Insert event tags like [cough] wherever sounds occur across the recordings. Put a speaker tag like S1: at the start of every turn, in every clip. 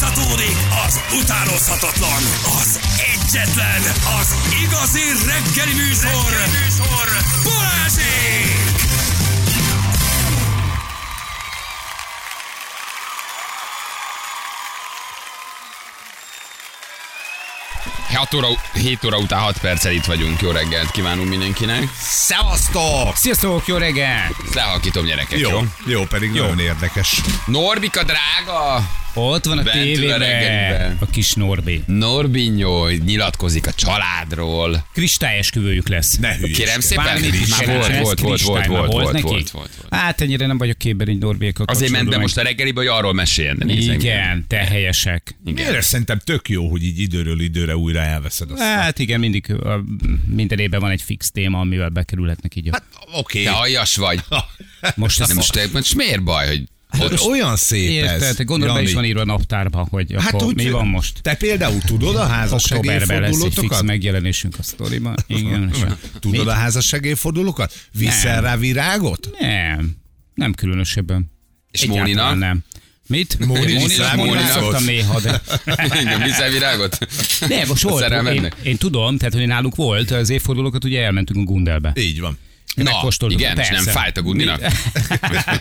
S1: folytatódik az utánozhatatlan, az egyetlen, az igazi reggeli műsor, reggeli műsor Balázsék!
S2: Hat óra, 7 óra után 6 perccel itt vagyunk. Jó reggelt kívánunk mindenkinek.
S3: Szevasztok!
S4: Sziasztok, jó reggel!
S2: Lehakítom gyerekek, jó?
S3: Jó, jó, pedig jó. nagyon érdekes.
S2: Norbika drága!
S4: Ott van a
S2: Bent ül a reggeliben.
S4: tévében a kis Norbi.
S2: Norbinyó nyilatkozik a családról.
S4: Kristályesküvőjük lesz.
S3: Ne hülyes.
S2: Kérem szépen,
S4: Bármit
S2: már volt,
S4: is csinálsz,
S2: volt, volt,
S4: Kristály
S2: volt,
S4: már
S2: volt, volt,
S4: neki?
S2: volt, volt, volt.
S4: Hát ennyire nem vagyok képben így Norbiékkal
S2: Azért ment be
S4: kapcsolatban,
S2: most a reggelibe, hogy arról meséljen. de
S4: meg-
S2: nézzen ki.
S4: Igen, te helyesek.
S3: Miért szerintem tök jó, hogy így időről időre újra elveszed azt. Hát,
S4: Hát igen, mindig ö, minden évben van egy fix téma, amivel bekerülhetnek így. a-
S3: oké.
S2: Te aljas vagy.
S4: Most
S2: Hát, Nem
S4: ez
S2: most, te, most miért baj, hogy
S3: Hát,
S2: ott
S3: olyan szép ez.
S4: Érted, gondolom be is
S3: Jani.
S4: van írva a naptárba, hogy
S3: Hát
S4: akkor
S3: úgy,
S4: mi van most.
S3: Te például tudod a
S4: Októberben lesz egy fix
S3: házasságéfordulótokat?
S4: megjelenésünk a sztoriban. Igen,
S2: [laughs]
S4: és a-
S3: Tudod a házasságéfordulókat? Viszel
S4: Nem.
S3: rá virágot?
S4: Nem, nem különösebben.
S2: És
S4: Egyáltalán
S2: Móninak?
S4: Nem. Mit?
S3: Móni
S4: Én
S2: visz rá
S4: Móninak Móninak
S2: Móninak?
S4: szoktam néha, de...
S2: [laughs] [laughs] Igen, viszel virágot?
S4: De most volt, én,
S2: Szerelmednek?
S4: én, tudom, tehát hogy náluk volt, az évfordulókat ugye elmentünk a Gundelbe.
S3: Így van.
S2: Na,
S4: megkóstoltuk.
S2: igen, és nem
S4: Persze.
S2: fájt a gundinak. [laughs]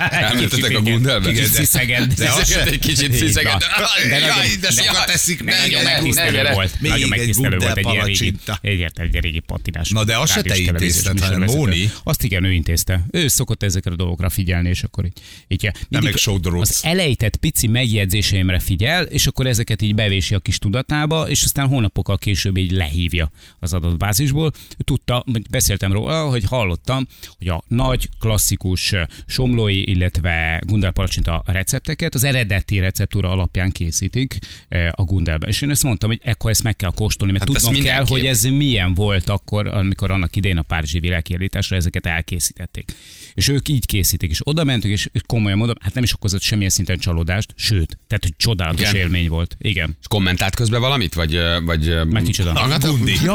S2: Elmentetek a
S4: Igen.
S2: Gundelbe?
S4: Igen,
S2: De-
S4: sziszeged.
S2: De az egy kicsit sziszeged.
S3: De nagyon-
S2: Jaj, de sokat teszik
S4: De
S2: meg.
S4: nagyon megtisztelő volt.
S3: Még
S4: nagyon
S3: egy
S4: megtisztelő volt egy ilyen régi,
S3: gundel palacsinta.
S4: egyet, egy régi patinás.
S3: Na de azt se te
S4: rádiós televíziós
S3: intézted, hanem
S4: műsorvezető.
S3: Móni.
S4: Azt igen, ő intézte. Ő szokott ezekre a dolgokra figyelni, és akkor így. így mindig
S3: meg sodródsz.
S4: Az elejtett pici megjegyzéseimre figyel, és akkor ezeket így bevési a kis tudatába, és aztán hónapokkal később így lehívja az adott bázisból. Ő Tudta, vagy beszéltem róla, hogy hallottam, hogy a nagy klasszikus somlói, illetve gundelpalacsinta recepteket az eredeti receptúra alapján készítik eh, a gundelben. És én ezt mondtam, hogy ekkor ezt meg kell kóstolni, mert
S2: Hát
S4: hát
S2: ezt
S4: tudnom kell,
S2: mindenképp.
S4: hogy ez milyen volt akkor, amikor annak idején a Párizsi világkiállításra ezeket elkészítették. És ők így készítik, és oda mentünk, és komolyan mondom, hát nem is okozott semmilyen szinten csalódást, sőt, tehát hogy csodálatos
S2: Igen.
S4: Igen. élmény volt. Igen.
S2: És kommentált közben valamit, vagy... ö, vagy ö,
S4: Meg kicsoda.
S2: Hallgatta?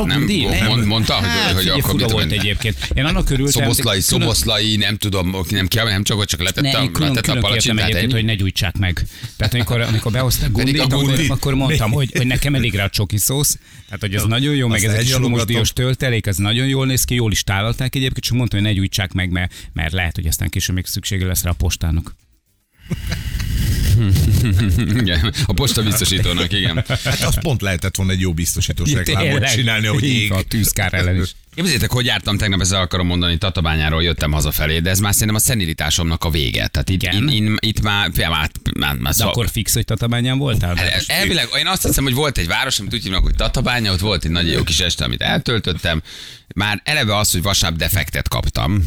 S3: Gundi.
S2: Nem, mond- mondta, hogy,
S4: hát,
S2: hogy
S4: figyelj,
S2: akkor
S4: fura
S2: mit
S4: volt
S2: mondta.
S4: egyébként. Én annak örültem.
S2: Szoboszlai,
S4: de külön-
S2: szoboszlai, nem tudom, oké, nem kell, nem csak, csak
S4: Ne,
S2: letette,
S4: én
S2: a- letette
S4: külön,
S2: a
S4: külön kértem
S2: palacsintát
S4: egyébként,
S2: ennyi.
S4: hogy ne gyújtsák meg. Tehát amikor, amikor behozták
S2: Pedig
S4: gundit,
S2: a
S4: akkor,
S2: gundit.
S4: akkor mondtam, hogy, hogy nekem elég rá a csoki szósz, tehát hogy ez nagyon jó, meg
S3: Azt
S4: ez egy
S3: elnyalogatom.
S4: somosdiós töltelék, ez nagyon jól néz ki, jól is tálalták egyébként, csak mondtam, hogy ne gyújtsák meg, mert, mert lehet, hogy aztán később még szüksége lesz rá a postának.
S2: [laughs] Igen, a posta biztosítónak, igen.
S3: Hát az pont lehetett volna egy jó
S4: [laughs]
S3: biztosítós reklámot
S4: Tényleg.
S3: csinálni, hogy
S4: Így
S3: ég.
S4: van, A tűzkár ellen is.
S2: Képzeljétek, hogy jártam tegnap, ezzel akarom mondani, Tatabányáról jöttem hazafelé, de ez már szerintem a szenilitásomnak a vége. Tehát itt, in,
S4: Igen.
S2: in, itt már, már, már, már, már
S4: De
S2: szó-
S4: akkor fix, hogy tatabányán voltál?
S2: Hát El- Elvileg, én azt hiszem, hogy volt egy város, amit úgy hívnak, hogy Tatabánya, ott volt egy nagy jó kis este, amit eltöltöttem. Már eleve az, hogy vasárnap defektet kaptam,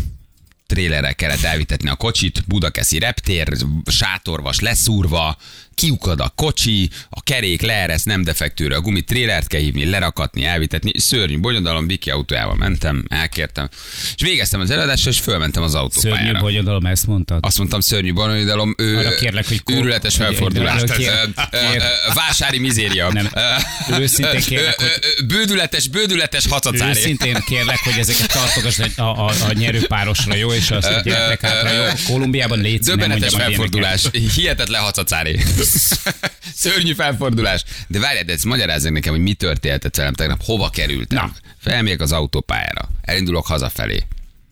S2: trélerrel kellett elvitetni a kocsit, Budakeszi reptér, sátorvas leszúrva, kiukad a kocsi, a kerék leeresz, nem defektőre a gumit, trélert kell hívni, lerakatni, elvitetni, szörnyű bonyodalom, Viki autójával mentem, elkértem, és végeztem az előadást, és fölmentem az autópályára.
S4: Szörnyű bonyodalom, ezt mondtad?
S2: Azt mondtam, szörnyű bonyolidalom, ő
S4: Arra kérlek, hogy kor-
S2: őrületes
S4: hogy-
S2: felfordulás.
S4: arra kér-
S2: Ö, ö, ö,
S4: kér-
S2: Vásári mizéria. [laughs]
S4: Nem.
S2: Ö,
S4: Őszintén
S2: ö,
S4: kérlek,
S2: ö,
S4: hogy-
S2: ö, Bődületes, bődületes hacacári.
S4: Őszintén kérlek, hogy ezeket tartogasd a, a, a nyerőpárosra, jó? És azt, hogy gyertek hátra, jó? Kolumbiában létsz, nem
S2: Döbbenetes
S4: mondjam a
S2: felfordulás. Hihetetlen hacacári. [laughs] Szörnyű felfordulás. De várjad, ez magyarázzak nekem, hogy mi történt velem tegnap, hova kerültem. Na. Felmegyek az autópályára, elindulok hazafelé.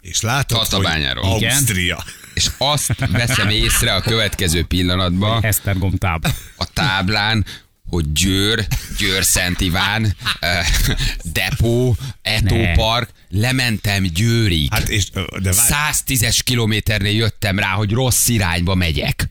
S3: És látod, hogy
S2: Tatabányáról.
S4: Igen.
S3: Ausztria.
S2: És azt veszem észre a következő pillanatban,
S4: Esztergom táb.
S2: a táblán, hogy Győr, Győr Szent Iván, eh, Depó, Eto
S4: Ne.
S2: Park, lementem Győrig.
S3: Hát és, de várj,
S2: 110-es kilométernél jöttem rá, hogy rossz irányba megyek.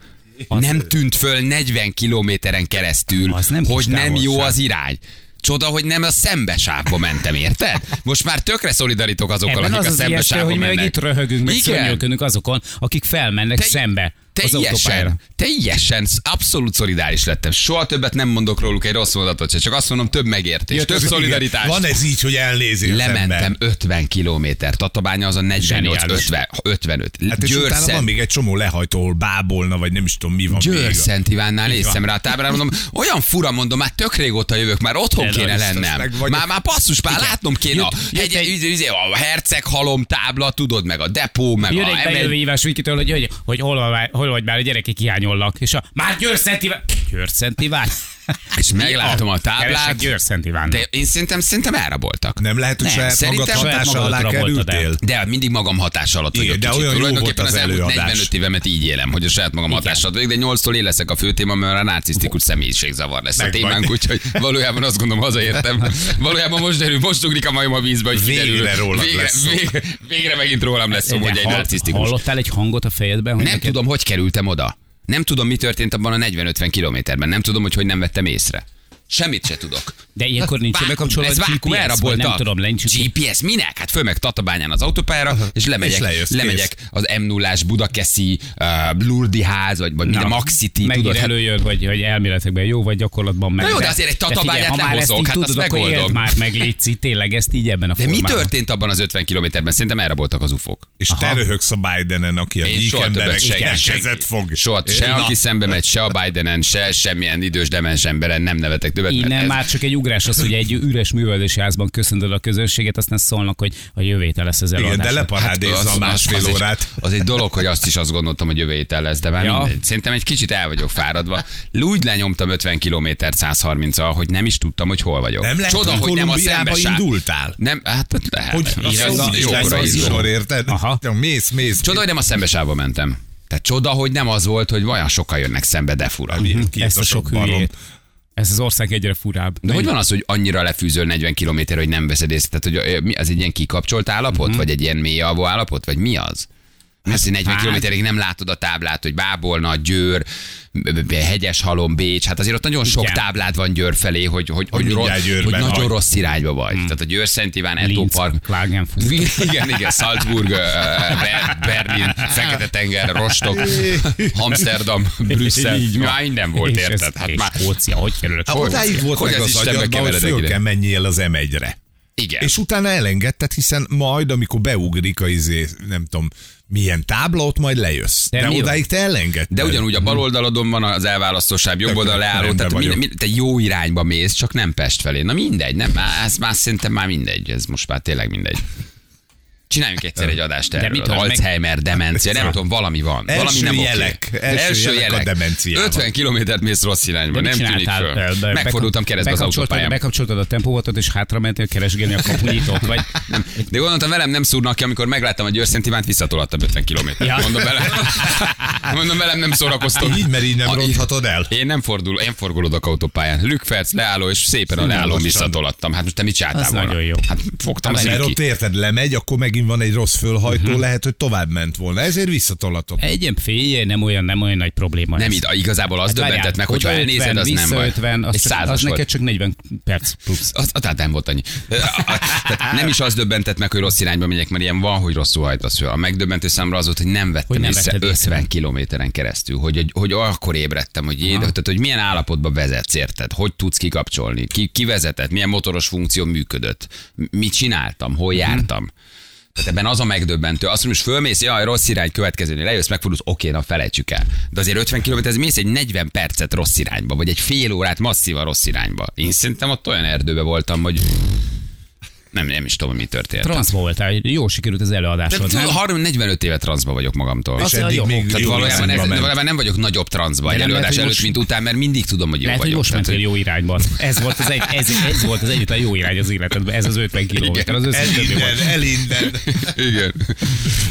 S2: nem tűnt föl 40 kilométeren keresztül,
S4: Az nem kis
S2: hogy nem jó
S4: távolság.
S2: az irány. Csoda, hogy nem a szembesávba mentem, érted? Most már tökre szolidarítok azokkal,
S4: Ebben
S2: akik
S4: az
S2: a
S4: az ijesztő,
S2: szembesávba
S4: hogy mi meg
S2: mennek.
S4: itt röhögünk, meg
S2: Igen.
S4: szörnyűködünk azokon, akik felmennek szembe az autópályára.
S2: teljesen, teljesen, sz- abszolút szolidáris lettem. Soha többet nem mondok róluk egy rossz mondatot se, csak azt mondom, több megértés,
S3: Jött
S2: több
S3: az-
S2: szolidaritás.
S3: igen. Van ez így, hogy elnézi az ember.
S2: Lementem 50 kilométer, Tatabánya az a 48,
S4: Zseniális.
S2: 50, 55.
S3: Hát és
S2: Győr,
S3: utána van
S2: Szent,
S3: még egy csomó lehajtó, ahol bábolna, vagy nem is tudom mi van
S2: Győr
S3: még.
S2: Szent Ivánnál néztem rá a táblára, mondom, olyan fura mondom, már tök régóta jövök, már otthon
S4: Ez
S2: kéne
S4: biztos
S2: lennem.
S3: meg vagyok.
S2: Már, már basszus, már látnom kéne a,
S4: Jött- jött
S2: egy,
S4: egy-
S2: egy, egy, a herceg halom tábla, tudod, meg a depó, meg
S4: Jön
S2: a
S4: egy bejövő hívás Vikitől, hogy, hogy, hogy hol, vagy, hol vagy már, a gyerekek hiányollak. És a, már Győr Szent Iván... Győrszent Iván.
S2: És meglátom a táblát.
S4: Keresek Győrszent Iván.
S2: De én szerintem, szerintem elraboltak.
S3: Nem lehet, hogy
S2: Nem,
S3: saját magad
S2: szerintem saját
S3: hatása
S4: magadra
S3: alá
S4: voltad
S3: kerültél?
S2: De hát mindig magam hatás alatt vagyok.
S3: Igen, de
S2: kicsit.
S3: olyan jó
S2: Tulajdonképpen
S3: volt az
S2: elmúlt
S3: előadás.
S2: 45 évemet így élem, hogy a saját magam hatás alatt vagyok, de 8-tól én leszek a fő téma, mert a narcisztikus személyiségzavar lesz a
S3: Meg vagy.
S2: témánk, úgyhogy valójában azt gondolom, hazaértem. Valójában most derül, most ugrik a majom a vízbe, hogy
S3: Végre
S2: kiderül.
S3: rólad
S2: végre,
S3: lesz szó.
S2: végre, végre, megint rólam lesz szó,
S4: De
S2: szóval, hogy egy
S4: hall-
S2: narcisztikus.
S4: Hallottál egy hangot a fejedben? Hogy
S2: Nem
S4: neked-
S2: tudom, hogy kerültem oda. Nem tudom, mi történt abban a 40-50 kilométerben. Nem tudom, hogy hogy nem vettem észre. Semmit se tudok.
S4: De ilyenkor nincs
S2: Vákum,
S4: bekapcsolva a
S2: ez vákum,
S4: GPS, vagy
S2: elraboltak.
S4: nem tudom, nincs
S2: GPS, minek? Hát fölmeg Tatabányán az autópályára, és lemegyek,
S3: És lejössz,
S2: lemegyek az M0-ás Budakeszi, uh, Lurdi ház, vagy, vagy minden Maxity,
S4: megint
S2: tudod? Hát,
S4: előjön, vagy hogy elméletekben jó, vagy gyakorlatban meg.
S2: Na jó, de azért egy
S4: de
S2: tatabányát
S4: figyelj, ha már
S2: lehozok,
S4: ezt így
S2: hát azt
S4: tudod, akkor
S2: megoldom.
S4: éld már meg, Léci, tényleg ezt így ebben a
S2: de mi
S4: formában.
S2: történt abban az 50 kilométerben? Szerintem elraboltak az ufók.
S3: És te röhögsz a Bidenen, aki a
S2: Én soha többet
S3: gyíkemberek
S2: senki-
S3: kezet fog.
S2: Soha se,
S3: Na,
S2: aki szembe megy, se a Bidenen, se semmilyen idős demens emberen nem nevetek többet. mert
S4: Innen
S2: ez-
S4: már csak egy ugrás az, hogy egy üres művelési házban köszöntöd a közönséget, aztán szólnak, hogy a jövétel lesz az
S3: Igen,
S4: előadás.
S3: de leparádézza a Hát másfél
S2: egy-
S3: órát.
S2: Hát az egy dolog, hogy azt is azt gondoltam, hogy jövő héten lesz, de már
S4: Ja.
S2: ja. mindegy. Szerintem egy kicsit el vagyok fáradva. Úgy lenyomtam 50 kilométert 130-al, hogy nem is tudtam, hogy hol vagyok.
S3: Nem lehet,
S2: Csoda,
S3: hogy
S2: hogy nem a
S3: Kolumbiába
S2: szembe
S3: indultál.
S2: Nem, hát lehet.
S3: Hogy
S2: az, az,
S3: az,
S2: jókora
S3: az, az
S2: izgulok.
S3: sor, érted?
S4: Aha.
S3: Csak Mész, mész.
S2: Csoda, hogy nem a szembesába mentem. Tehát csoda, hogy nem az volt, hogy olyan sokan jönnek szembe, de fura.
S3: Milyen
S4: Ezt a
S3: kiirtatott
S4: sok
S3: barom.
S4: hülyét. Ez az ország egyre furább.
S2: De hogy van az, hogy annyira lefűzöl 40 km, hogy nem veszed észre? Tehát, hogy ö, mi, az egy ilyen kikapcsolt állapot, uh-huh. vagy egy ilyen mély alvó állapot, vagy mi az? Hát, hogy 40
S4: Mhm. hát-
S2: kilométerig nem látod a táblát, hogy Bábolna, Győr, b- b- b- Hegyes Halom, Bécs, hát azért ott nagyon sok
S4: Igen.
S2: táblád van Győr felé, hogy, hogy, hogy,
S3: mindjárt
S2: rossz, hogy
S3: Győrben
S2: nagyon
S3: vagy.
S2: rossz irányba vagy.
S4: Mhm.
S2: Tehát a Győr Szent Iván, Eto
S4: Linz, [laughs]
S2: Park.
S4: Klagenfurt.
S2: Igen, igen, Salzburg, ö, Ber- Berlin, Fekete-tenger,
S4: [laughs]
S2: Rostock, Amsterdam, Brüsszel.
S4: Így van.
S2: Már minden volt,
S4: És ez-
S2: érted? Hát
S4: és
S2: már
S4: Skócia, hogy kerülök?
S3: Hát odáig volt
S2: Hogy
S3: meg
S2: az
S3: az
S2: Istenbe
S3: agyadban, hogy
S2: keveredek
S3: föl
S2: ide?
S3: kell menjél az M1-re.
S2: igen.
S3: És utána elengedted, hiszen majd, amikor beugrik a izé, nem tudom, milyen tábla, ott majd lejössz.
S4: De
S3: De,
S4: mi van?
S3: odáig te elengedted.
S2: De ugyanúgy a bal oldaladon van az elválasztósáv, jobb
S3: Tök
S2: oldal leálló,
S3: rendben
S2: tehát
S3: vagyok.
S2: minden, minden, te jó irányba mész, csak nem Pest felé. Na mindegy, nem, már- ez már szerintem már mindegy, ez most már tényleg mindegy. Csináljunk egyszer egy adást erről.
S4: mit,
S2: az
S4: hogy meg-
S2: Alzheimer, demencia, nem tudom, valami van.
S3: Első
S2: valami nem oké.
S3: jelek, első jelek a demenciával.
S2: 50 kilométert mész rossz irányba,
S4: mit
S2: nem tűnik
S4: csináltál?
S2: föl.
S4: Ö, be-
S2: Megfordultam keresztbe az
S4: bekapcsoltad-
S2: autópályán.
S4: Bekapcsoltad a tempóvatot, és hátra mentél keresgélni a kapunyítót, vagy...
S2: Nem. De gondoltam, velem nem szúrnak ki, amikor megláttam a Győr Szent Ivánt, visszatolattam 50 kilométert.
S4: Ja.
S2: Mondom, velem, [laughs] mondom, velem nem szórakoztok.
S3: Így, mert így nem
S2: A-
S3: ronthatod el.
S2: Én nem fordul, én forgolódok autópályán. Lükferc, leálló, és szépen a leálló
S3: lassan.
S2: visszatolattam. Hát most te mit csináltál
S4: Az
S2: volna?
S4: nagyon jó.
S2: Hát fogtam az
S3: Mert
S2: ki.
S3: ott érted, lemegy, akkor megint van egy rossz fölhajtó, uh-huh. lehet, hogy tovább ment volna. Ezért visszatolatok.
S4: Egyen félje, nem olyan, nem olyan nagy probléma
S2: Nem
S4: ez.
S2: id, igazából az
S4: Hát várjál,
S2: döbbentett meg,
S4: oda
S2: hogyha elnézed, az nem
S4: vissza
S2: baj.
S4: 50, az,
S2: Egy
S4: csak, az
S2: százas volt.
S4: neked csak 40 perc plusz.
S2: Az, az, tehát nem volt annyi. Tehát nem is az döbbentett meg, hogy rossz irányba megyek, mert ilyen van, hogy rosszul hajtasz föl. A megdöbbentő számra az volt, hogy nem vettem
S4: Hogy
S2: hogy
S4: nem
S2: észre
S4: vetted
S2: 50
S4: észre.
S2: kilométeren keresztül, hogy, hogy, hogy akkor ébredtem, hogy, én, tehát, hogy milyen állapotba vezetsz, érted? Hogy tudsz kikapcsolni? Ki, ki vezetett? Milyen motoros funkció működött? M- Mit csináltam? Hol
S4: Mhm.
S2: jártam? Tehát ebben az a megdöbbentő. Azt mondom, hogy fölmész, jaj, rossz irány, következőnél lejössz, megfordulsz, oké, na felejtsük el. De azért 50 km, ez mész egy 40 percet rossz irányba, vagy egy fél órát masszívan rossz irányba. Én szerintem ott olyan erdőbe voltam, hogy nem, nem is tudom, hogy mi történt.
S4: Transzba voltál, jó sikerült az
S2: de
S4: előadásod. nem?
S2: 30-45 éve transzba vagyok magamtól.
S3: És
S4: az
S3: eddig
S4: jó.
S3: még
S2: Tehát
S3: jó
S2: valójában, ez,
S3: irányba ment.
S2: valójában nem vagyok nagyobb transzba egy
S4: nem lehet,
S2: előadás
S4: hogy
S2: előtt,
S4: most-
S2: mint után, mert mindig tudom, hogy jó
S4: Lehet, hogy
S2: vagyok.
S4: most
S2: Tehát,
S4: mentél jó irányba. Ez volt az, egy, ez, ez volt az egyetlen jó irány az életedben, ez az 50 kilométer, az összes
S3: El
S4: többi volt.
S3: innen, el innen.
S2: Igen.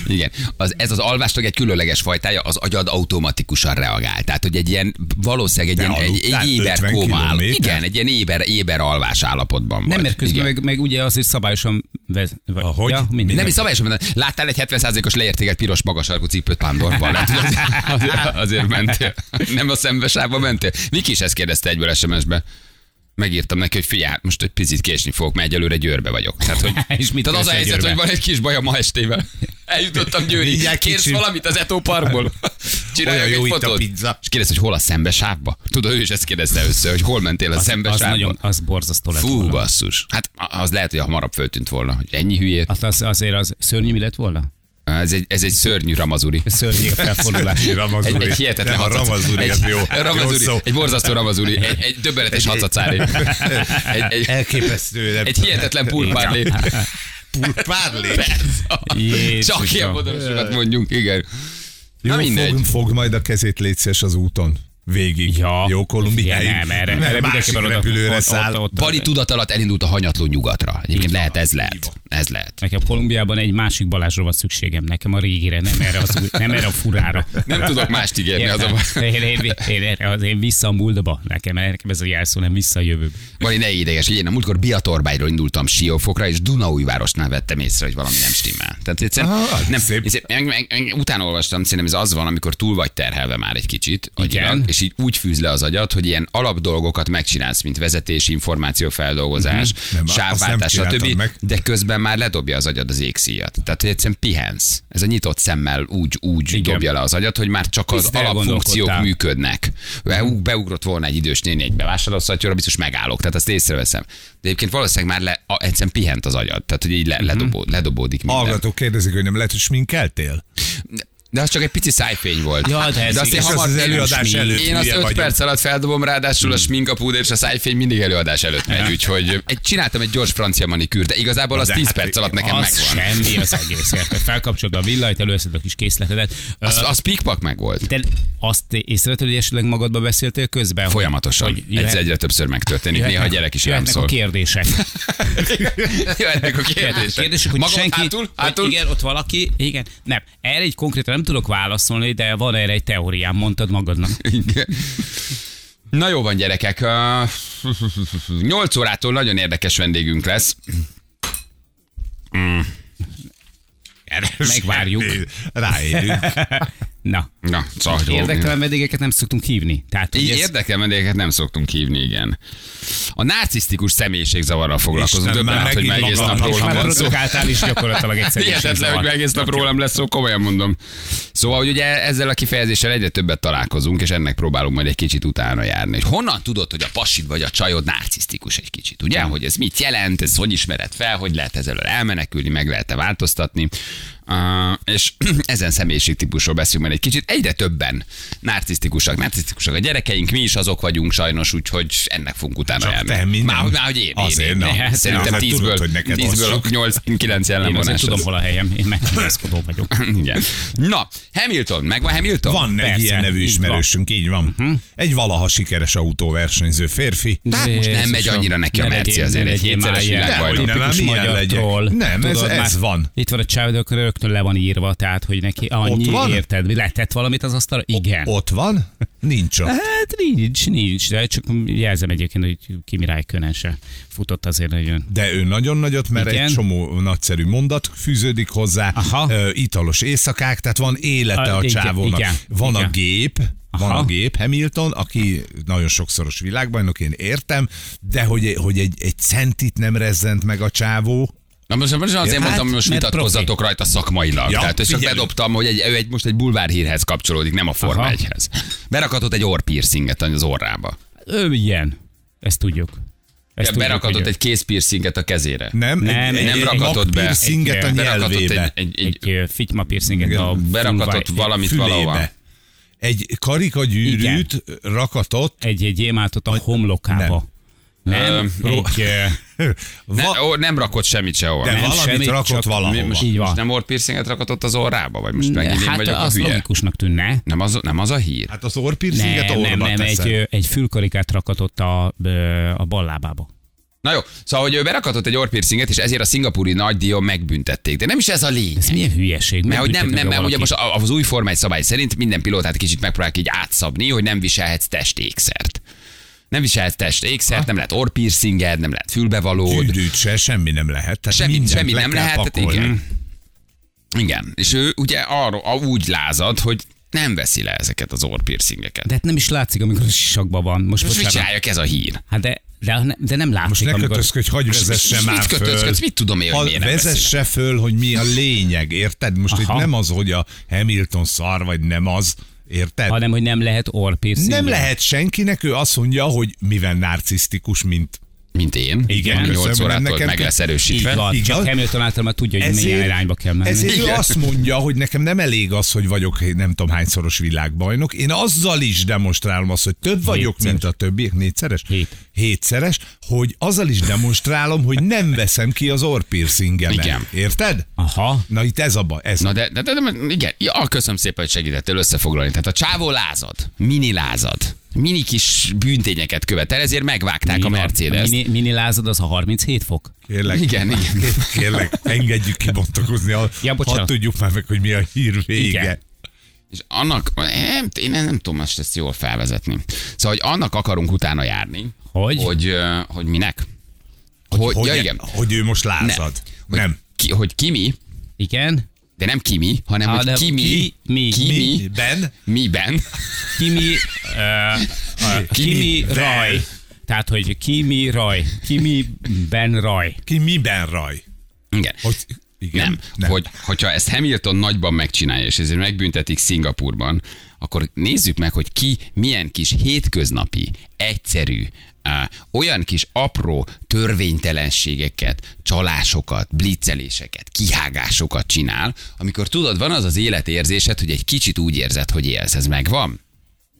S2: Igen. Az, ez az alvástag egy különleges fajtája, az agyad automatikusan reagál. Tehát, hogy egy ilyen, valószínűleg egy,
S3: De
S2: ilyen, egy,
S3: aludtál
S2: egy éber
S3: 50
S2: kóma áll-
S3: kilométert?
S2: Igen, egy ilyen éber, éber alvás állapotban vagy.
S4: Nem, mert közben
S2: Igen.
S4: meg, meg, ugye azért szabályosan vez, vagy,
S3: Ahogy?
S4: Ja, mindegy.
S2: Nem is szabályosan mentem. Láttál egy 70%-os leértéket piros magas sarkú cipőt Pándorban? Hát, hogy az- az- azért mentél. Nem a szembesába mentél. Viki is ezt kérdezte egyből SMS-be. Megírtam neki, hogy figyelj, most egy picit késni fogok, mert egyelőre győrbe vagyok. Tehát,
S3: [laughs]
S2: hogy
S4: És mit
S2: Tehát az a
S4: keresel
S2: helyzet,
S4: Győrben?
S2: hogy van egy kis bajom ma estével. Eljutottam Győri.
S3: Mindjárt
S2: Kérsz
S3: kicsim.
S2: valamit az Eto Parkból? Csináljak
S3: Olyan jó
S2: egy
S3: itt a
S2: fotót.
S3: pizza.
S2: És kérdezte, hogy hol a szembesávba? Tudod, ő is ezt kérdezte össze, hogy hol mentél a
S4: az
S2: szembesávba.
S4: nagyon, az borzasztó lett
S2: Fú,
S4: volna.
S2: basszus. Hát az lehet, hogy hamarabb föltűnt volna, hogy ennyi hülyét.
S4: Az, az, azért az szörnyű mi lett volna?
S2: Ez egy, ez egy szörnyű ramazuri.
S4: [laughs] Szörnyű a felfordulás.
S2: Egy,
S3: Ramazuri.
S2: egy hihetetlen
S3: Nem, a
S2: hacacári.
S3: ramazuri, az
S2: egy,
S3: jó.
S2: Ramazuri,
S3: Jó szó.
S2: egy borzasztó ramazuri, egy, egy döbbenetes hacacári. Egy, egy,
S3: Elképesztő. nem
S2: egy
S3: tudom.
S2: hihetetlen pulpárlé.
S3: Párlé.
S4: Jézusom.
S2: Csak ilyen motorosikat mondjunk, igen.
S3: Jó,
S2: Na mindegy.
S3: fog, fog majd a kezét létszés az úton. végig.
S4: Ja.
S3: Jó, Kolumbiáig.
S4: Ja, nem, erre-
S3: Mert
S4: erre
S3: másik
S4: mindenképpen oda-
S3: repülőre
S4: ott-
S3: száll.
S4: ott- ott-
S2: Bali tudat alatt elindult a hanyatló nyugatra. Egyébként
S4: Így van.
S2: lehet, ez lehet. Ez lehet.
S4: Nekem Kolumbiában egy másik Balázsra van szükségem, nekem a régire, nem erre, az, új- nem erre a furára.
S2: Nem tudok mást ígérni, az a
S4: Értem. én, én, én, én, az én vissza a múltba, nekem, nekem ez a jelszó, nem vissza a jövőbe.
S2: Bali, ne ideges, így én a múltkor Biatorbágyról indultam Siófokra, és Dunaújvárosnál vettem észre, hogy valami nem stimmel. Tehát egyszerűen,
S3: Ah,
S2: nem,
S3: szép.
S2: egyszerűen meg, meg, meg, utána olvastam, szerintem ez az van, amikor túl vagy terhelve már egy kicsit,
S4: Igen.
S2: agyilag, és így úgy fűz le az agyad, hogy ilyen alapdolgokat megcsinálsz, mint vezetés, információfeldolgozás,
S3: Mhm. Nem,
S2: uh-huh.
S3: azt
S2: sávváltás,
S3: nem csináltam
S2: stb.
S3: meg.
S2: De közben már ledobja az agyad az égszíjat. Tehát hogy egyszerűen pihensz. Ez a nyitott szemmel úgy, úgy
S4: Igen.
S2: dobja le az agyad, hogy már csak az
S4: Tisztel
S2: alapfunkciók
S4: gondolkodtál.
S2: mű működnek. Beug- Beugrott volna egy idős néni egy bevásárlószattyóra, biztos megállok, tehát azt észreveszem. De egyébként valószínűleg már le, a, egyszerűen pihent az agyad, tehát hogy így le,
S4: Mhm.
S2: ledobó, ledobódik minden.
S3: Hallgatók kérdezik, hogy nem lehet, hogy sminkeltél?
S2: De az csak egy pici szájfény volt.
S4: Ja, de ez
S2: azt én
S4: igaz,
S2: hamar-
S3: az az előadás
S2: én-
S3: előtt
S2: Én azt
S3: hülye
S2: 5
S3: vagyok.
S2: perc alatt feldobom, ráadásul a smink, a púder és a szájfény mindig előadás előtt
S4: Mhm.
S2: megy, úgyhogy egy, csináltam egy gyors francia manikűr, de igazából az
S3: De
S2: 10
S3: hát
S2: perc alatt nekem
S4: az
S2: megvan.
S4: semmi az [laughs] egész, érted? Felkapcsolod a villanyt, előszed a kis készletedet.
S2: Az,
S4: Ö,
S2: az pikpak meg volt.
S4: Te azt észrevetted, hogy esetleg magadba beszéltél közben?
S2: Folyamatosan.
S4: Hogy
S2: Ez
S4: jöhet-
S2: egyre többször megtörténik, néha a gyerek is rám
S4: jöhetnek
S2: szól.
S4: a kérdések.
S2: [laughs] Jöhetnek a
S4: Jöhetnek
S2: kérdések.
S4: kérdések, hogy
S2: Magad
S4: senki...
S2: hátul,
S4: hogy
S2: hátul.
S4: igen, ott valaki... Igen, nem. Erre egy konkrétan nem tudok válaszolni, de van erre egy teóriám, mondtad magadnak.
S2: Igen. Na jó van, gyerekek. Ö, 8 órától nagyon érdekes vendégünk lesz. Mm. Erős.
S4: Megvárjuk.
S3: Ráérünk.
S4: Na.
S2: Na, szóval
S4: Érdektelen vendégeket nem szoktunk hívni. Tehát, hogy
S2: Így
S4: ez-
S2: érdekel vendégeket nem szoktunk hívni, igen. A narcisztikus személyiségzavarral foglalkozunk.
S3: Isten,
S2: Döbbenet,
S3: már
S2: hogy meg
S3: megint
S2: egész
S3: maga
S2: nap
S3: a
S2: rólam
S4: Már
S2: van szó.
S4: adottak által is gyakorlatilag egyszer is
S2: Hihetetlen,
S4: zavar.
S2: hogy meg egész nap rólam lesz szó, komolyan mondom. Szóval, hogy ugye ezzel a kifejezéssel egyre többet találkozunk, és ennek próbálunk majd egy kicsit utána járni. Hogy honnan tudod, hogy a pasid vagy a csajod narcisztikus egy kicsit, ugye? Hogy ez mit jelent, ez hogy ismered fel, hogy lehet ezzel elmenekülni, meg lehet-e változtatni. Uh, és [clears throat] ezen személyiségtípusról beszélünk majd egy kicsit. Egyre többen narcisztikusak, narcisztikusak a gyerekeink, mi is azok vagyunk sajnos, úgyhogy ennek fogunk utána
S3: Csak
S2: járni.
S3: te, mi nem.
S2: Már, már hogy én,
S3: Azért
S2: én, én,
S3: nem.
S2: én. Szerintem
S3: Azért tudod,
S2: 10-ből,
S3: hogy neked
S2: 10-ből
S3: asszok.
S2: 8-9 jelen
S4: Én
S2: van.
S4: azért tudom, hol a helyem. Én megkérdezkodó vagyok.
S2: Igen. Na, Hamilton, megvan Hamilton?
S3: Van egy
S4: Persze,
S3: ilyen nevű
S4: így
S3: ismerősünk, így van. Egy valaha sikeres autóversenyző férfi.
S2: Hát most nem
S4: Jézusom,
S2: megy annyira neki a
S4: ne
S2: Merci
S4: legyél-
S2: azért,
S4: ne
S2: egy
S4: legyél
S2: hétszeres
S4: már ilyen
S2: világbajnok.
S3: Nem,
S4: tipikus
S3: nem, milyen
S4: magyar
S3: legyek.
S4: troll.
S3: Nem, ez-
S4: már
S3: ez van.
S4: Itt van a csáv, de akkor rögtön le van írva, tehát hogy neki annyi
S3: van?
S4: érted, letett valamit az asztalra? Igen.
S3: Ott van?
S4: [laughs]
S3: Nincs ott.
S4: Hát nincs, nincs, de csak jelzem egyébként, hogy Kimi Räikkönen se futott azért nagyon.
S3: De ő nagyon nagyot, mert
S4: Igen.
S3: egy csomó nagyszerű mondat fűződik hozzá,
S4: Aha.
S3: Ö, italos éjszakák, tehát van élete
S4: A-
S3: a,
S4: igen,
S3: csávónak.
S4: igen,
S3: van a
S4: igen.
S3: gép, van
S4: Aha.
S3: a gép, Hamilton, aki nagyon sokszoros világbajnok, én értem, de hogy, hogy egy, egy centit nem rezzent meg a csávó,
S2: Na most, most azért
S3: Ja,
S2: mondtam,
S3: hát,
S2: hogy most
S4: mert
S2: vitatkozzatok rajta szakmailag.
S3: Ja,
S2: Tehát és csak
S3: figyelünk.
S2: bedobtam, hogy egy, ő egy, most egy bulvárhírhez kapcsolódik, nem a Forma
S4: Aha.
S2: 1-hez. Berakhatott egy orrpiercinget az orrába.
S4: Ő ilyen, ezt tudjuk. Ezt tudjuk,
S2: Berakhatott
S4: hogy-
S2: egy kézpiercinget a kezére.
S3: nem?
S4: Nem,
S3: egy,
S4: nem
S3: egy,
S2: rakatott
S3: egy
S2: be.
S3: Szinget a
S4: Egy-
S2: Berakhatott egy,
S3: nyelvébe.
S2: egy, egy,
S4: egy, ö, fityma piercinget a
S2: berakhatott
S4: fülváj-
S2: valamit valahova.
S3: fülébe. Egy karikagyűrűt rakatott,
S4: Egy, egy gyémántot a homlokába. Nem,
S2: Ö,
S4: nem egy,
S2: [laughs]
S4: ö,
S2: ne,
S3: va-
S2: ó, nem rakott semmit sehova.
S3: de
S2: Nem.
S3: valamit
S4: semmit, csak
S3: rakott
S2: Mi,
S3: valahova.
S2: most,
S4: Így van.
S2: most nem orrpiercinget rakhatott az orrába? Vagy most megint én
S4: hát
S2: vagyok a
S4: az
S2: hülye?
S4: logikusnak tűnne.
S2: Nem az, nem az a hír?
S3: Hát az orrpiercinget
S4: Nem,
S3: orba
S4: nem, nem,
S3: teszed.
S4: egy, ö, egy fülkarikát rakatott a, ö, a bal lábába.
S2: Na jó, szóval, hogy ő berakatott egy orrpiercinget, és ezért a szingapúri nagydíjon megbüntették. De nem is ez a lényeg.
S4: Ez milyen hülyeség?
S2: Mert hogy nem,
S4: Megbüntetnek
S2: nem,
S4: a
S2: mert ugye
S4: valakit.
S2: most a- az új Forma 1 szabály szerint minden pilótát kicsit megpróbálják így átszabni, hogy nem viselhetsz testékszert. Nem viselhetsz testékszert, nem lehet orrpiercinged, nem lehet fülbevalód.
S3: Gyűrűt se, semmi nem lehet. Tehát
S2: Semmi,
S3: mindent
S2: semmi
S3: le
S2: nem
S3: kell
S2: lehet. Tehát
S3: pakolni.
S2: igen. igen. És ő ugye arról a- úgy lázad, hogy nem veszi le ezeket az orrpiercingeket.
S4: De hát nem is látszik, amikor a sisakban van. Most,
S2: Most mit
S4: bocsánat.
S2: csináljak ez a hír?
S4: Hát de, de, de nem látszik,
S3: Most ne
S4: amikor...
S3: kötözködj, hogy vezesse
S2: Most mit
S3: már föl.
S2: kötözködsz? Mit tudom én, hogy
S3: Ha
S2: miért nem
S3: Vezesse föl, hogy mi a lényeg, érted? Most itt
S4: Aha.
S3: nem az, hogy a Hamilton szar, vagy nem az, érted?
S4: Hanem, hogy nem lehet orr piercing.
S3: nem lehet senkinek, ő azt mondja, hogy mivel narcisztikus, mint
S2: mint én.
S3: Igen,
S2: Ami 8
S3: köszönöm,
S2: órától
S3: nekem
S2: meg
S3: kell-
S2: lesz
S4: Így
S2: erősítve.
S4: van.
S3: Igaz?
S4: Csak Hamilton által már tudja, hogy milyen irányba kell menni.
S3: Ezért ő
S2: Igen.
S3: azt mondja, hogy nekem nem elég az, hogy vagyok nem tudom hányszoros világbajnok. Én azzal is demonstrálom azt, hogy több vagyok,
S4: Hétszeres.
S3: mint a többiek. Négyszeres?
S4: Hét.
S3: Hétszeres, hogy azzal is demonstrálom, hogy nem veszem ki az orpiercingemet.
S2: Igen. Ah.
S3: Érted?
S4: Aha.
S3: Na itt ez a baj. Ez.
S2: Na de, de, de, de igen, ja, köszönöm szépen, hogy segítettél összefoglalni. Tehát a csávó lázad, mini lázad, mini kis bűntényeket követel, ezért megvágták a mercedes
S4: Mini, mini lázad az a 37 fok?
S3: Kérlek,
S2: Igen, igen.
S3: Kérlek, engedjük kibontakozni, ha,
S4: Ja, bocsánat.
S3: ha tudjuk már meg, hogy mi a hír vége.
S4: Igen.
S2: És annak, nem, én nem tudom most ezt jól felvezetni. Szóval, hogy annak akarunk utána járni.
S4: Hogy?
S2: Hogy, ö, hogy minek? Hogy,
S3: Hogy,
S2: ja, igen.
S3: hogy ő most lázad.
S2: Hogy,
S3: Nem.
S2: Ki, hogy Kimi,
S4: Igen.
S2: de nem Kimi, hanem
S4: Á,
S2: hogy
S4: de
S2: Kimi,
S4: ki- mi.
S2: Kimi,
S3: Mi? Ben?
S2: miben, [laughs]
S4: Kimi, uh, Kimi
S3: Kimi
S4: Raj.
S3: Raj.
S4: Tehát, hogy Kimi Raj. Kimi Ben Raj.
S3: Ki miben raj?
S2: igen.
S3: Hogy, igen.
S2: Nem. nem. Hogy, hogyha ezt Hamilton nagyban megcsinálja, és ezért megbüntetik Szingapurban, akkor nézzük meg, hogy ki milyen kis hétköznapi, egyszerű, á, olyan kis apró törvénytelenségeket, csalásokat, blitzeléseket, kihágásokat csinál, amikor tudod, van az az életérzésed, hogy egy kicsit úgy érzed, hogy élsz, ez megvan?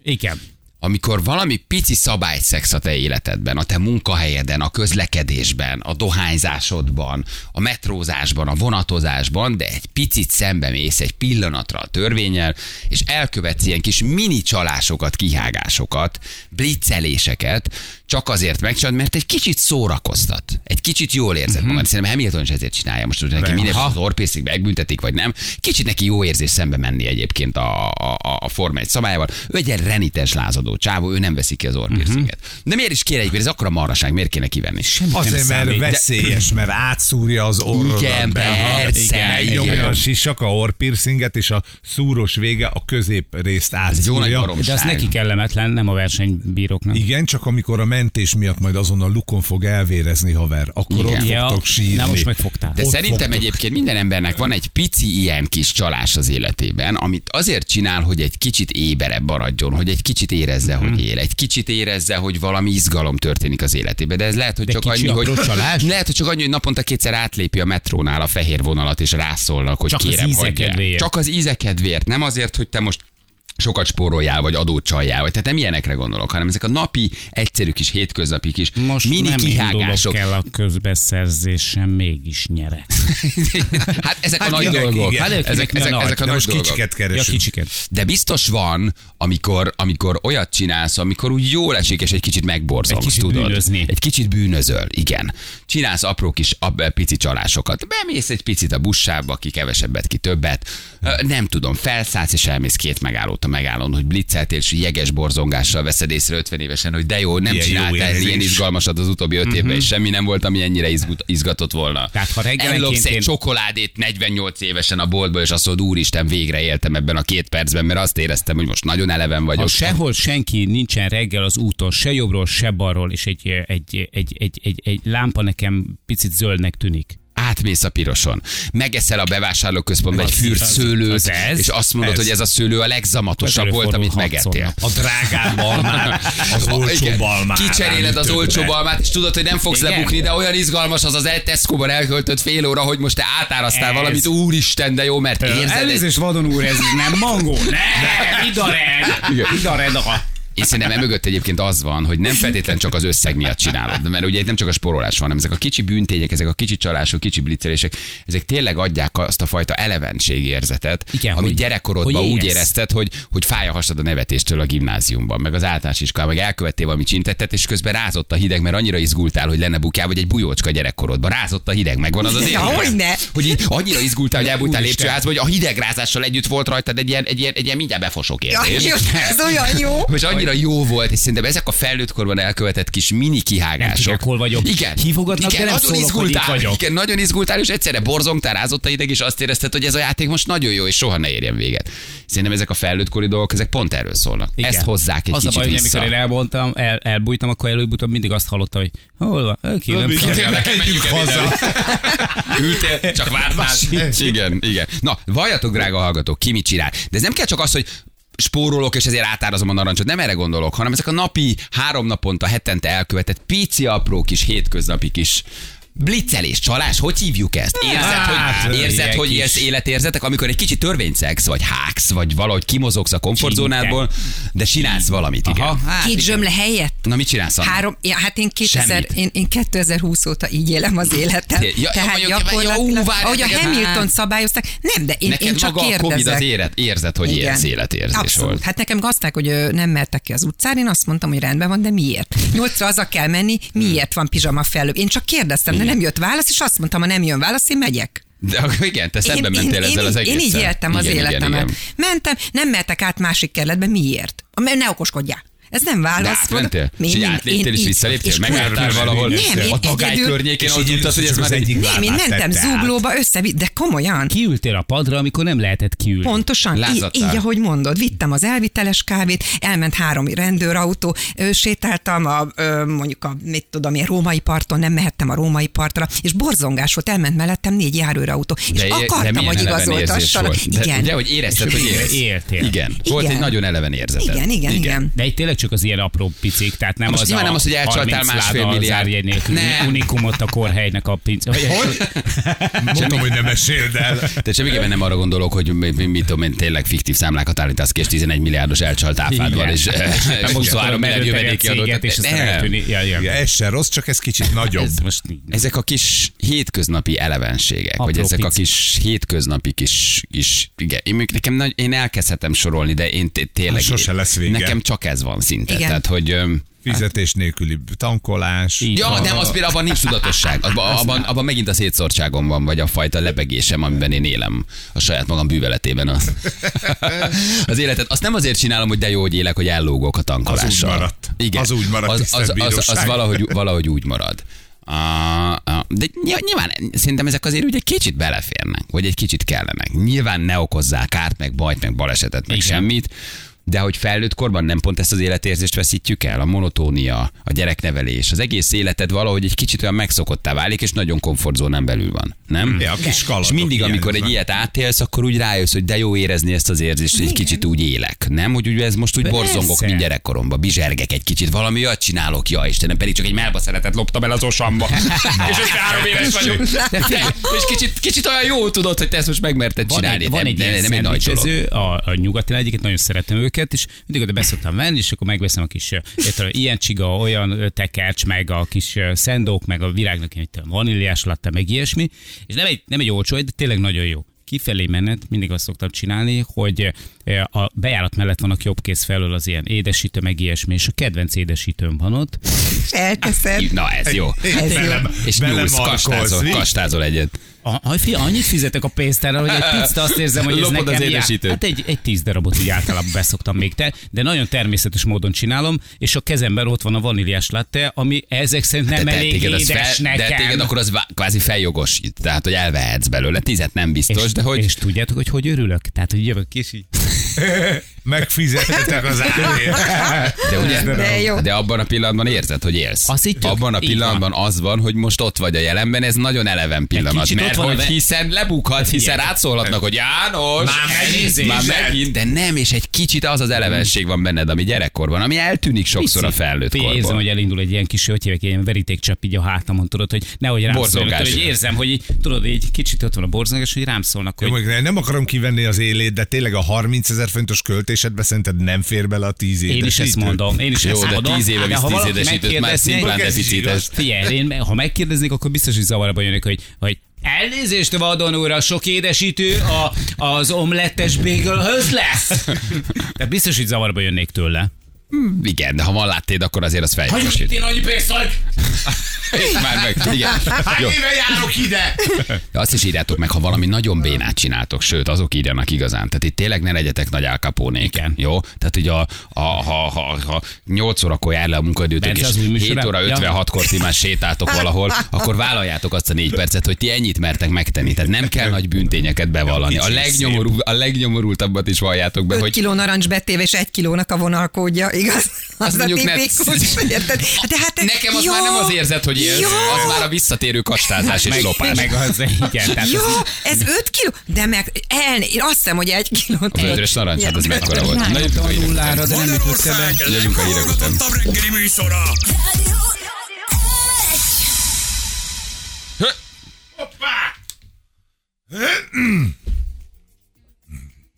S4: Igen.
S2: amikor valami pici szabályszex a te életedben, a te munkahelyeden, a közlekedésben, a dohányzásodban, a metrózásban, a vonatozásban, de egy picit szembe mész egy pillanatra a törvényel, és elkövetsz ilyen kis mini csalásokat, kihágásokat, blitzeléseket, csak azért megcsinálod, mert egy kicsit szórakoztat. Egy kicsit jól érzed magad. Szerintem Hamilton is ezért csinálja most, hogy neki minden az orpészig megbüntetik, vagy nem. Kicsit neki jó érzés szembe menni egyébként a, a, a, a Forma 1 szabályával. Ő egy ilyen renitens lázadó csávó, ő nem veszi ki az orpészéget. De miért is kéne egyébként? Ez akkora marhaság, miért kéne kivenni? Mhm. Semmi.
S3: Azért, mert
S4: számít, de-
S3: veszélyes, mert átszúrja az orrodat.
S2: Igen,
S3: be, ha-
S2: persze, igen.
S3: Megnyomja a sisak, a orrpiercinget, és a szúros vége a közép részt
S2: egy jó nagy
S3: átszúrja.
S2: baromság.
S4: De az neki kellemetlen, nem a versenybíróknak.
S3: Igen, csak amikor a mentés miatt majd azon a lukon fog elvérezni haver, akkor
S2: Igen.
S3: ott fogtok sírni.
S4: Na most megfogtál.
S2: De
S3: Ott
S2: szerintem
S3: fogtok.
S2: egyébként minden embernek van egy pici ilyen kis csalás az életében, amit azért csinál, hogy egy kicsit éberebb maradjon, hogy egy kicsit érezze,
S4: Mhm.
S2: hogy él, egy kicsit érezze, hogy valami izgalom történik az életében. De ez lehet, hogy
S4: De
S2: csak annyi,
S4: kicsi
S2: hogy
S4: apró csalás?
S2: lehet, hogy csak annyi, hogy naponta kétszer átlépi a metrónál a fehér vonalat, és rászólnak, hogy
S4: Csak az
S2: kérem,
S4: íze
S2: hogy
S4: kedvéért.
S2: csak az íze kedvéért, nem azért, hogy te most sokat spóroljál, vagy adót csaljál, vagy tehát nem ilyenekre gondolok, hanem ezek a napi, egyszerű kis, hétköznapi kis
S4: Most
S2: mini
S4: nem
S2: kihágások.
S4: indulok el a közbeszerzésen, mégis nyerek.
S2: [laughs] hát ezek
S3: Hát
S2: a nagy
S3: igen,
S2: dolgok.
S3: igen.
S2: Ezek, ezek, ezek, ezek a
S3: De
S2: nagy
S3: most
S2: dolgok.
S3: kicsiket
S4: Ja,
S3: keresünk.
S4: kicsiket.
S2: De biztos van, amikor, amikor olyat csinálsz, amikor úgy jól esik, és egy kicsit megborzolsz,
S4: Egy kicsit
S2: tudod?
S4: bűnözni.
S2: Egy kicsit bűnözöl, igen. Csinálsz apró kis ab, pici csalásokat. Bemész egy picit a buszába, ki kevesebbet, ki többet. Ö, Nem tudom, felszállsz és elmész két megállót a megállón, hogy blitzeltél, és jeges borzongással veszed észre 50 évesen, hogy de jó, nem
S3: Ilyen jó
S2: csináltál
S3: érzés.
S2: ilyen izgalmasat az utóbbi 5 évben, és semmi nem volt, ami ennyire izgut- izgatott volna.
S4: Tehát, ha reggelenként
S2: Ellopsz egy
S4: én-
S2: csokoládét 48 évesen a boltból, és azt mondod, úristen, végre éltem ebben a két percben, mert azt éreztem, hogy most nagyon eleven
S4: Ha
S2: vagyok.
S4: sehol senki nincsen reggel az úton, se jobbról, se balról, és egy, egy, egy, egy, egy, egy lámpa nekem picit zöldnek tűnik.
S2: Átmész a piroson, megeszel a bevásárlóközpontban egy
S4: Az-
S2: fűrt
S4: az-
S2: szőlőt,
S4: az ez?
S2: és azt mondod,
S3: Ez.
S2: hogy ez a szőlő a legzamatosabb volt, amit
S4: Előfordul
S2: megettél.
S4: hatszor.
S3: A drágább
S2: [laughs]
S3: almát, az
S2: A-
S3: olcsó
S2: igen.
S3: balmát.
S2: Kicseréled az olcsó balmát, és tudod, hogy nem fogsz
S4: Igen.
S2: lebukni, de olyan izgalmas az az egy Tesco-ban elköltött fél óra, hogy most te átáraztál
S4: Ez.
S2: valamit, úristen, de jó, mert érzed. egy-
S4: Elnézést, vadon úr, ez nem mangó. Ne,
S2: Igen.
S4: idared, idared a...
S2: És szerintem emögött egyébként az van, hogy nem feltétlenül csak az összeg miatt csinálod, mert ugye itt nem csak a sporolás van, hanem ezek a kicsi bűntények, ezek a kicsi csalások, kicsi blitzelések, ezek tényleg adják azt a fajta elevenségérzetet,
S4: Igen,
S2: amit
S4: hogy-
S2: gyerekkorodban
S4: hogy
S2: úgy
S4: érez.
S2: érezted, hogy, hogy fáj a hasad a nevetéstől a gimnáziumban, meg az általános iskolában, meg elkövettél valami csintettet, és közben rázott a hideg, mert annyira izgultál, hogy lenne bukjá, vagy egy bujócska gyerekkorodban. Rázott a hideg, megvan az az
S5: Ja,
S2: érzés?
S5: hogyne.
S2: Hogy így annyira izgultál, hogy elbújtál
S4: Úristen.
S2: lépcsőházba, hogy a hidegrázással együtt volt rajtad egy ilyen, egy ilyen, egy ilyen mindjárt befosok
S5: Ja,
S2: érzés. [laughs]
S5: jó, ez olyan jó.
S2: Most annyira jó volt, és szerintem ezek a felnőtt korban elkövetett kis mini
S4: Nem
S2: kihágások.
S4: tudják, hol vagyok.
S2: Igen.
S4: Hívogatnak,
S2: igen,
S4: de nem
S2: nagyon
S4: szólok, hogy itt
S2: izgultál.
S4: vagyok.
S2: Igen, nagyon izgultál, és egyszerre borzongtál, rázott a ideg, és azt érezted, hogy ez a játék most nagyon jó, és soha ne érjen véget. Szerintem ezek a felnőtt kori dolgok, ezek pont erről szólnak. Igen. Ezt hozzák egy
S4: az
S2: kicsit
S4: a baj, hogy
S2: vissza.
S4: amikor én elmondtam, el, elbújtam, akkor előbb-utóbb mindig azt hallottam, hogy hol van, Oké, nem
S3: igen.
S4: kell.
S2: Tényleg,
S3: Menjünk
S2: menjünk el
S3: haza.
S2: innen. Ültél, csak vártál. Igen, igen. Na, valljatok, drága hallgatók, ki mit csinál. De ez nem kell csak az, hogy spórolok, és ezért átárazom a narancsot. Nem erre gondolok, hanem ezek a napi, három naponta, hetente elkövetett pici apró kis hétköznapi kis Blitzelés, csalás, hogy hívjuk ezt? Érzed,
S3: Hát,
S2: hogy, érzed,
S4: ilyen
S2: hogy
S4: kis-
S2: élsz életérzetek, amikor egy kicsit törvényszegsz, vagy háksz, vagy valahogy kimozogsz a komfortzónádból, de csinálsz valamit, igen. Aha, hát,
S5: Két
S2: igen.
S5: zsömle helyett?
S2: Na, mit csinálsz? Anna?
S5: Három, ja, hát én, 2000,
S2: Semmit.
S5: én, én 2020 óta így élem az életem.
S2: Ja, ja,
S5: tehát
S2: mondjuk, jó,
S5: gyakorlatilag,
S2: várj,
S5: ahogy a
S2: neked
S5: Hamilton
S2: már-
S5: szabályozták, nem, de én,
S2: Neked
S5: én csak
S2: maga a Covid az
S5: kérdezek.
S2: élet, érzed, hogy élsz életérzés
S5: Abszolút.
S2: volt.
S5: Hát nekem gazták, hogy ö, nem mertek ki az utcán, én azt mondtam, hogy rendben van, de miért? Nyolcra haza kell menni, miért van pizsama felül? Én csak kérdeztem, de nem jött válasz, és azt mondtam, ha nem jön válasz, én megyek.
S2: De akkor igen, te szembe
S5: én,
S2: mentél
S5: én,
S2: ezzel
S5: én,
S2: az
S5: így-
S2: egészen.
S5: Én így éltem az
S2: Igen, igen,
S5: életemet.
S2: igen.
S5: Mentem, nem mertek át másik kerületbe, miért? Mert ne okoskodjál. Ez nem
S2: De
S5: válasz.
S2: átmentél?
S5: Mondom,
S2: És így
S5: én-
S2: átléptél
S5: én
S2: és
S5: így-
S2: visszaléptél?
S5: és
S2: Megálltál
S3: körbe-
S2: valahol
S5: Nem, én
S2: a tagály
S5: egyedül-
S2: környékén,
S3: és
S2: ahogy
S3: így
S2: tudtad, hogy ez
S3: az
S2: már
S3: egyik
S2: egy...
S5: Nem, én
S3: vállát
S5: mentem
S3: tette át.
S5: zuglóba, összevitt, de komolyan.
S4: Kiültél a padra, amikor nem lehetett kiülni.
S5: Pontosan, így,
S2: Lázadtál.
S5: így, ahogy mondod, vittem az elviteles kávét, elment három rendőrautó, ö, sétáltam a, ö, mondjuk a, mit tudom én, római parton, nem mehettem a római partra, és borzongás volt, elment mellettem négy járőrautó, és
S2: é-
S5: akartam,
S2: milyen
S5: hogy
S2: eleven érzés
S5: igazoltassanak.
S2: volt. De,
S5: Igen.
S2: Ugye, hogy érezted, hogy élsz.
S4: Éltél.
S2: Igen. Volt
S5: Igen.
S2: egy nagyon eleven érzeted.
S5: igen, igen, igen.
S4: De itt tényleg csak az ilyen apró picik, tehát nem
S2: Most
S4: az
S2: nyilván
S4: a
S2: nem az, hogy elcsaltál
S4: 30
S2: másfél
S4: láda
S2: milliárd.
S4: zárjegy nélkül
S2: Nem.
S4: unikumot a korhelynek a pince. Vagy
S3: Mondtam, hogy nem meséld el.
S2: De semmiképpen nem arra gondolok, hogy mi- mi- mit tudom én, tényleg fiktív számlákat állítasz ki, és 11 milliárdos elcsalt áfádval,
S4: Igen.
S2: és eh, [laughs]
S4: Nem
S2: 23 milliárd
S4: akkor
S2: jövedéki
S4: céget,
S2: adót.
S4: És aztán
S2: Nem.
S4: eltűnik. Ja, ja.
S3: Igen, ez se rossz, csak ez kicsit nagyobb.
S4: Ez most így.
S2: Ezek a kis hétköznapi elevenségek,
S4: Apró
S2: vagy ezek a
S4: pici.
S2: kis hétköznapi kis, kis igen, én, mondjuk nekem nagy, én elkezdhetem sorolni, de én té- tényleg...
S3: Hát sose lesz vége.
S2: Nekem csak ez van szinte. Igen.
S5: Igen.
S2: Tehát, hogy... öm,
S3: Fizetés nélküli tankolás.
S4: Így
S2: Ja,
S4: van.
S2: nem, az például abban nincs tudatosság. Abban, abban, abban megint a szétszórtságom van, vagy a fajta lebegésem, amiben én élem a saját magam bűveletében
S3: [laughs]
S2: az, az életet. Azt nem azért csinálom, hogy de jó, hogy élek, hogy ellógok a tankolással.
S3: Az úgy maradt.
S2: Igen.
S3: Az úgy maradt,
S2: az, az,
S3: tisztelt
S2: az, az, az
S3: bíróság.
S2: valahogy, valahogy úgy marad. A- a- De ny- nyilván szerintem ezek azért úgy egy kicsit beleférnek, vagy egy kicsit kellenek. Nyilván ne okozzál kárt, meg bajt, meg balesetet, meg
S4: Igen.
S2: semmit, de hogy felnőtt korban nem pont ezt az életérzést veszítjük el, a monotónia, a gyereknevelés, az egész életed valahogy egy kicsit olyan megszokottá válik, és nagyon komfortzónán belül van, nem?
S3: Ja, a kis
S2: és
S3: kalandok
S2: mindig,
S3: hiányoznak.
S2: amikor egy ilyet átélsz, akkor úgy rájössz, hogy de jó érezni ezt az érzést, egy kicsit úgy élek, nem? Hogy ugye ez most úgy
S4: Persze.
S2: borzongok, mint gyerekkoromban, bizsergek egy kicsit, valami olyat csinálok, ja Istenem, pedig csak egy melbaszeletet loptam el az
S4: [laughs]
S2: osamba. és össze három éves vagyok. De- és kicsit, kicsit olyan jó tudod, hogy te ezt most megmerted
S4: van
S2: csinálni.
S4: egy, van
S2: nem,
S4: egy
S2: nem,
S4: ilyen
S2: nem egy nagy dolog.
S4: szendvicsező, a, a nyugati lány, egyiket nagyon szeretem őket, és mindig oda beszoktam venni, és akkor megveszem a kis ö, értelem, ilyen csiga, olyan ö, tekercs, meg a kis ö, szendók, meg a virágnak, ilyen, mit tudom, vaníliás latte, meg ilyesmi, és nem egy, nem egy olcsó, de tényleg nagyon jó. Kifelé menet mindig azt szoktam csinálni, hogy ö, a bejárat mellett van a jobb kéz felől az ilyen édesítő, meg iesmi, és a kedvenc édesítőm van ott,
S5: Elteszed.
S2: Na ez jó.
S5: Ez jó.
S3: Belem-
S2: És nyúlsz,
S3: belemarkolsz,
S2: kastázol,
S3: így?
S2: kastázol egyet.
S4: A, a, fi, annyit fizetek a pénztárra, hogy egy picit azt érzem, hogy ez
S2: Lopod
S4: nekem
S2: az
S4: jár.
S2: édesítőt.
S4: Hát egy, egy tíz darabot így általában beszoktam még te, de nagyon természetes módon csinálom, és a kezemben ott van a vaníliás latte, ami ezek szerint nem
S2: Hát de te
S4: elég
S2: téged az fel,
S4: édes nekem.
S2: de téged akkor az vá- kvázi feljogosít, tehát hogy elvehetsz belőle, tizet nem biztos,
S4: és,
S2: de hogy...
S4: és tudjátok, hogy hogy örülök? Tehát, hogy jövök és így...
S3: Megfizettetek
S4: [laughs]
S3: az árért.
S2: De, ugye,
S5: De jó.
S2: de abban a pillanatban érzed, hogy élsz.
S4: Azt hittük.
S2: abban a
S4: Így
S2: pillanatban az van, hogy most ott vagy a jelenben, ez nagyon eleven pillanat.
S4: kicsit ott
S2: Mert
S4: van a
S2: hogy
S4: ve- Hát
S2: hiszen lebukhat, hiszen
S4: Igen.
S2: rátszólhatnak, hogy János,
S4: Már izé, megint
S2: már
S4: érzed.
S2: megint, de nem, és egy kicsit az az elevenség van benned, ami gyerekkorban, ami eltűnik sokszor a felnőtt
S4: Figyelj, Érzem,
S2: korban.
S4: hogy elindul egy ilyen kis, hogy hívják, ilyen verítékcsepp így a hátamon, tudod, hogy nehogy rám szólnak,
S2: Borzongás.
S4: tudod, hogy érzem, hogy így, tudod, így kicsit ott van a borzongás, hogy rám szólnak, hogy
S3: Jó, mondjuk nem akarom kivenni az élét, de tényleg a 30 ezer fontos költésedbe szerinted nem fér bele a 10 év.
S4: Én is ezt mondom, én is
S2: Jó,
S4: ezt
S2: de
S4: mondom. Hát,
S2: tíz éve visz tíz édesítőt, már szimplán
S3: Ez is
S2: deficites.
S3: igaz.
S4: Figyelj, én, ha megkérdeznék, akkor biztos, hogy zavarba jönnek, hogy, hogy Elnézést, Vadon úr, a sok édesítő a, az omlettes bégelhöz lesz. De biztos, hogy zavarba jönnék tőle.
S2: Igen, de ha van láttéd, akkor azért az
S4: Hogy
S2: fejlősít.
S4: én annyi pénzt adj?
S2: Itt már meg, igen.
S4: Hát,
S2: Jó.
S4: járok ide?
S2: De azt is írjátok meg, ha valami nagyon bénát csináltok, sőt, azok írjanak igazán. Tehát itt tényleg ne legyetek nagy álkapónék.
S4: Igen.
S2: Jó? Tehát, hogy a, a, ha, ha, ha 8 órakor jár le a munkaidőtök,
S4: Bence,
S2: és
S4: az új
S2: 7
S4: műsora?
S2: óra
S4: Ja.
S2: 56-kor ti már sétáltok valahol, akkor vállaljátok azt a 4 percet, hogy ti ennyit mertek megtenni. Tehát nem kell nagy bűntényeket bevallani. A,
S3: Kicsi,
S2: legnyomorú, a legnyomorultabbat is valljátok be,
S5: Öt
S2: hogy
S5: kiló narancs betéve, és egy kilónak a vonalkódja, igaz? az
S2: Azt
S5: a
S2: mondjuk ne-
S5: tipikus.
S2: [laughs]
S5: Érted? De hát,
S2: Nekem az
S5: ja,
S2: már nem az érzet, hogy élsz,
S5: ja,
S2: az már a visszatérő kastázás és lopás.
S4: Meg az, igen, tehát
S5: Ja,
S4: az
S5: ez 5 kiló, de meg elne, én azt hiszem, hogy egy kilót.
S2: A vödrös narancsát az mekkora volt. Na jövünk a hírek után.
S4: nullára, de nem jutott
S1: Magyarország
S4: eszembe.
S2: Legyünk a hírek után.
S1: leghallgatottabb reggeli műsora.
S6: Radio X.
S2: Hö!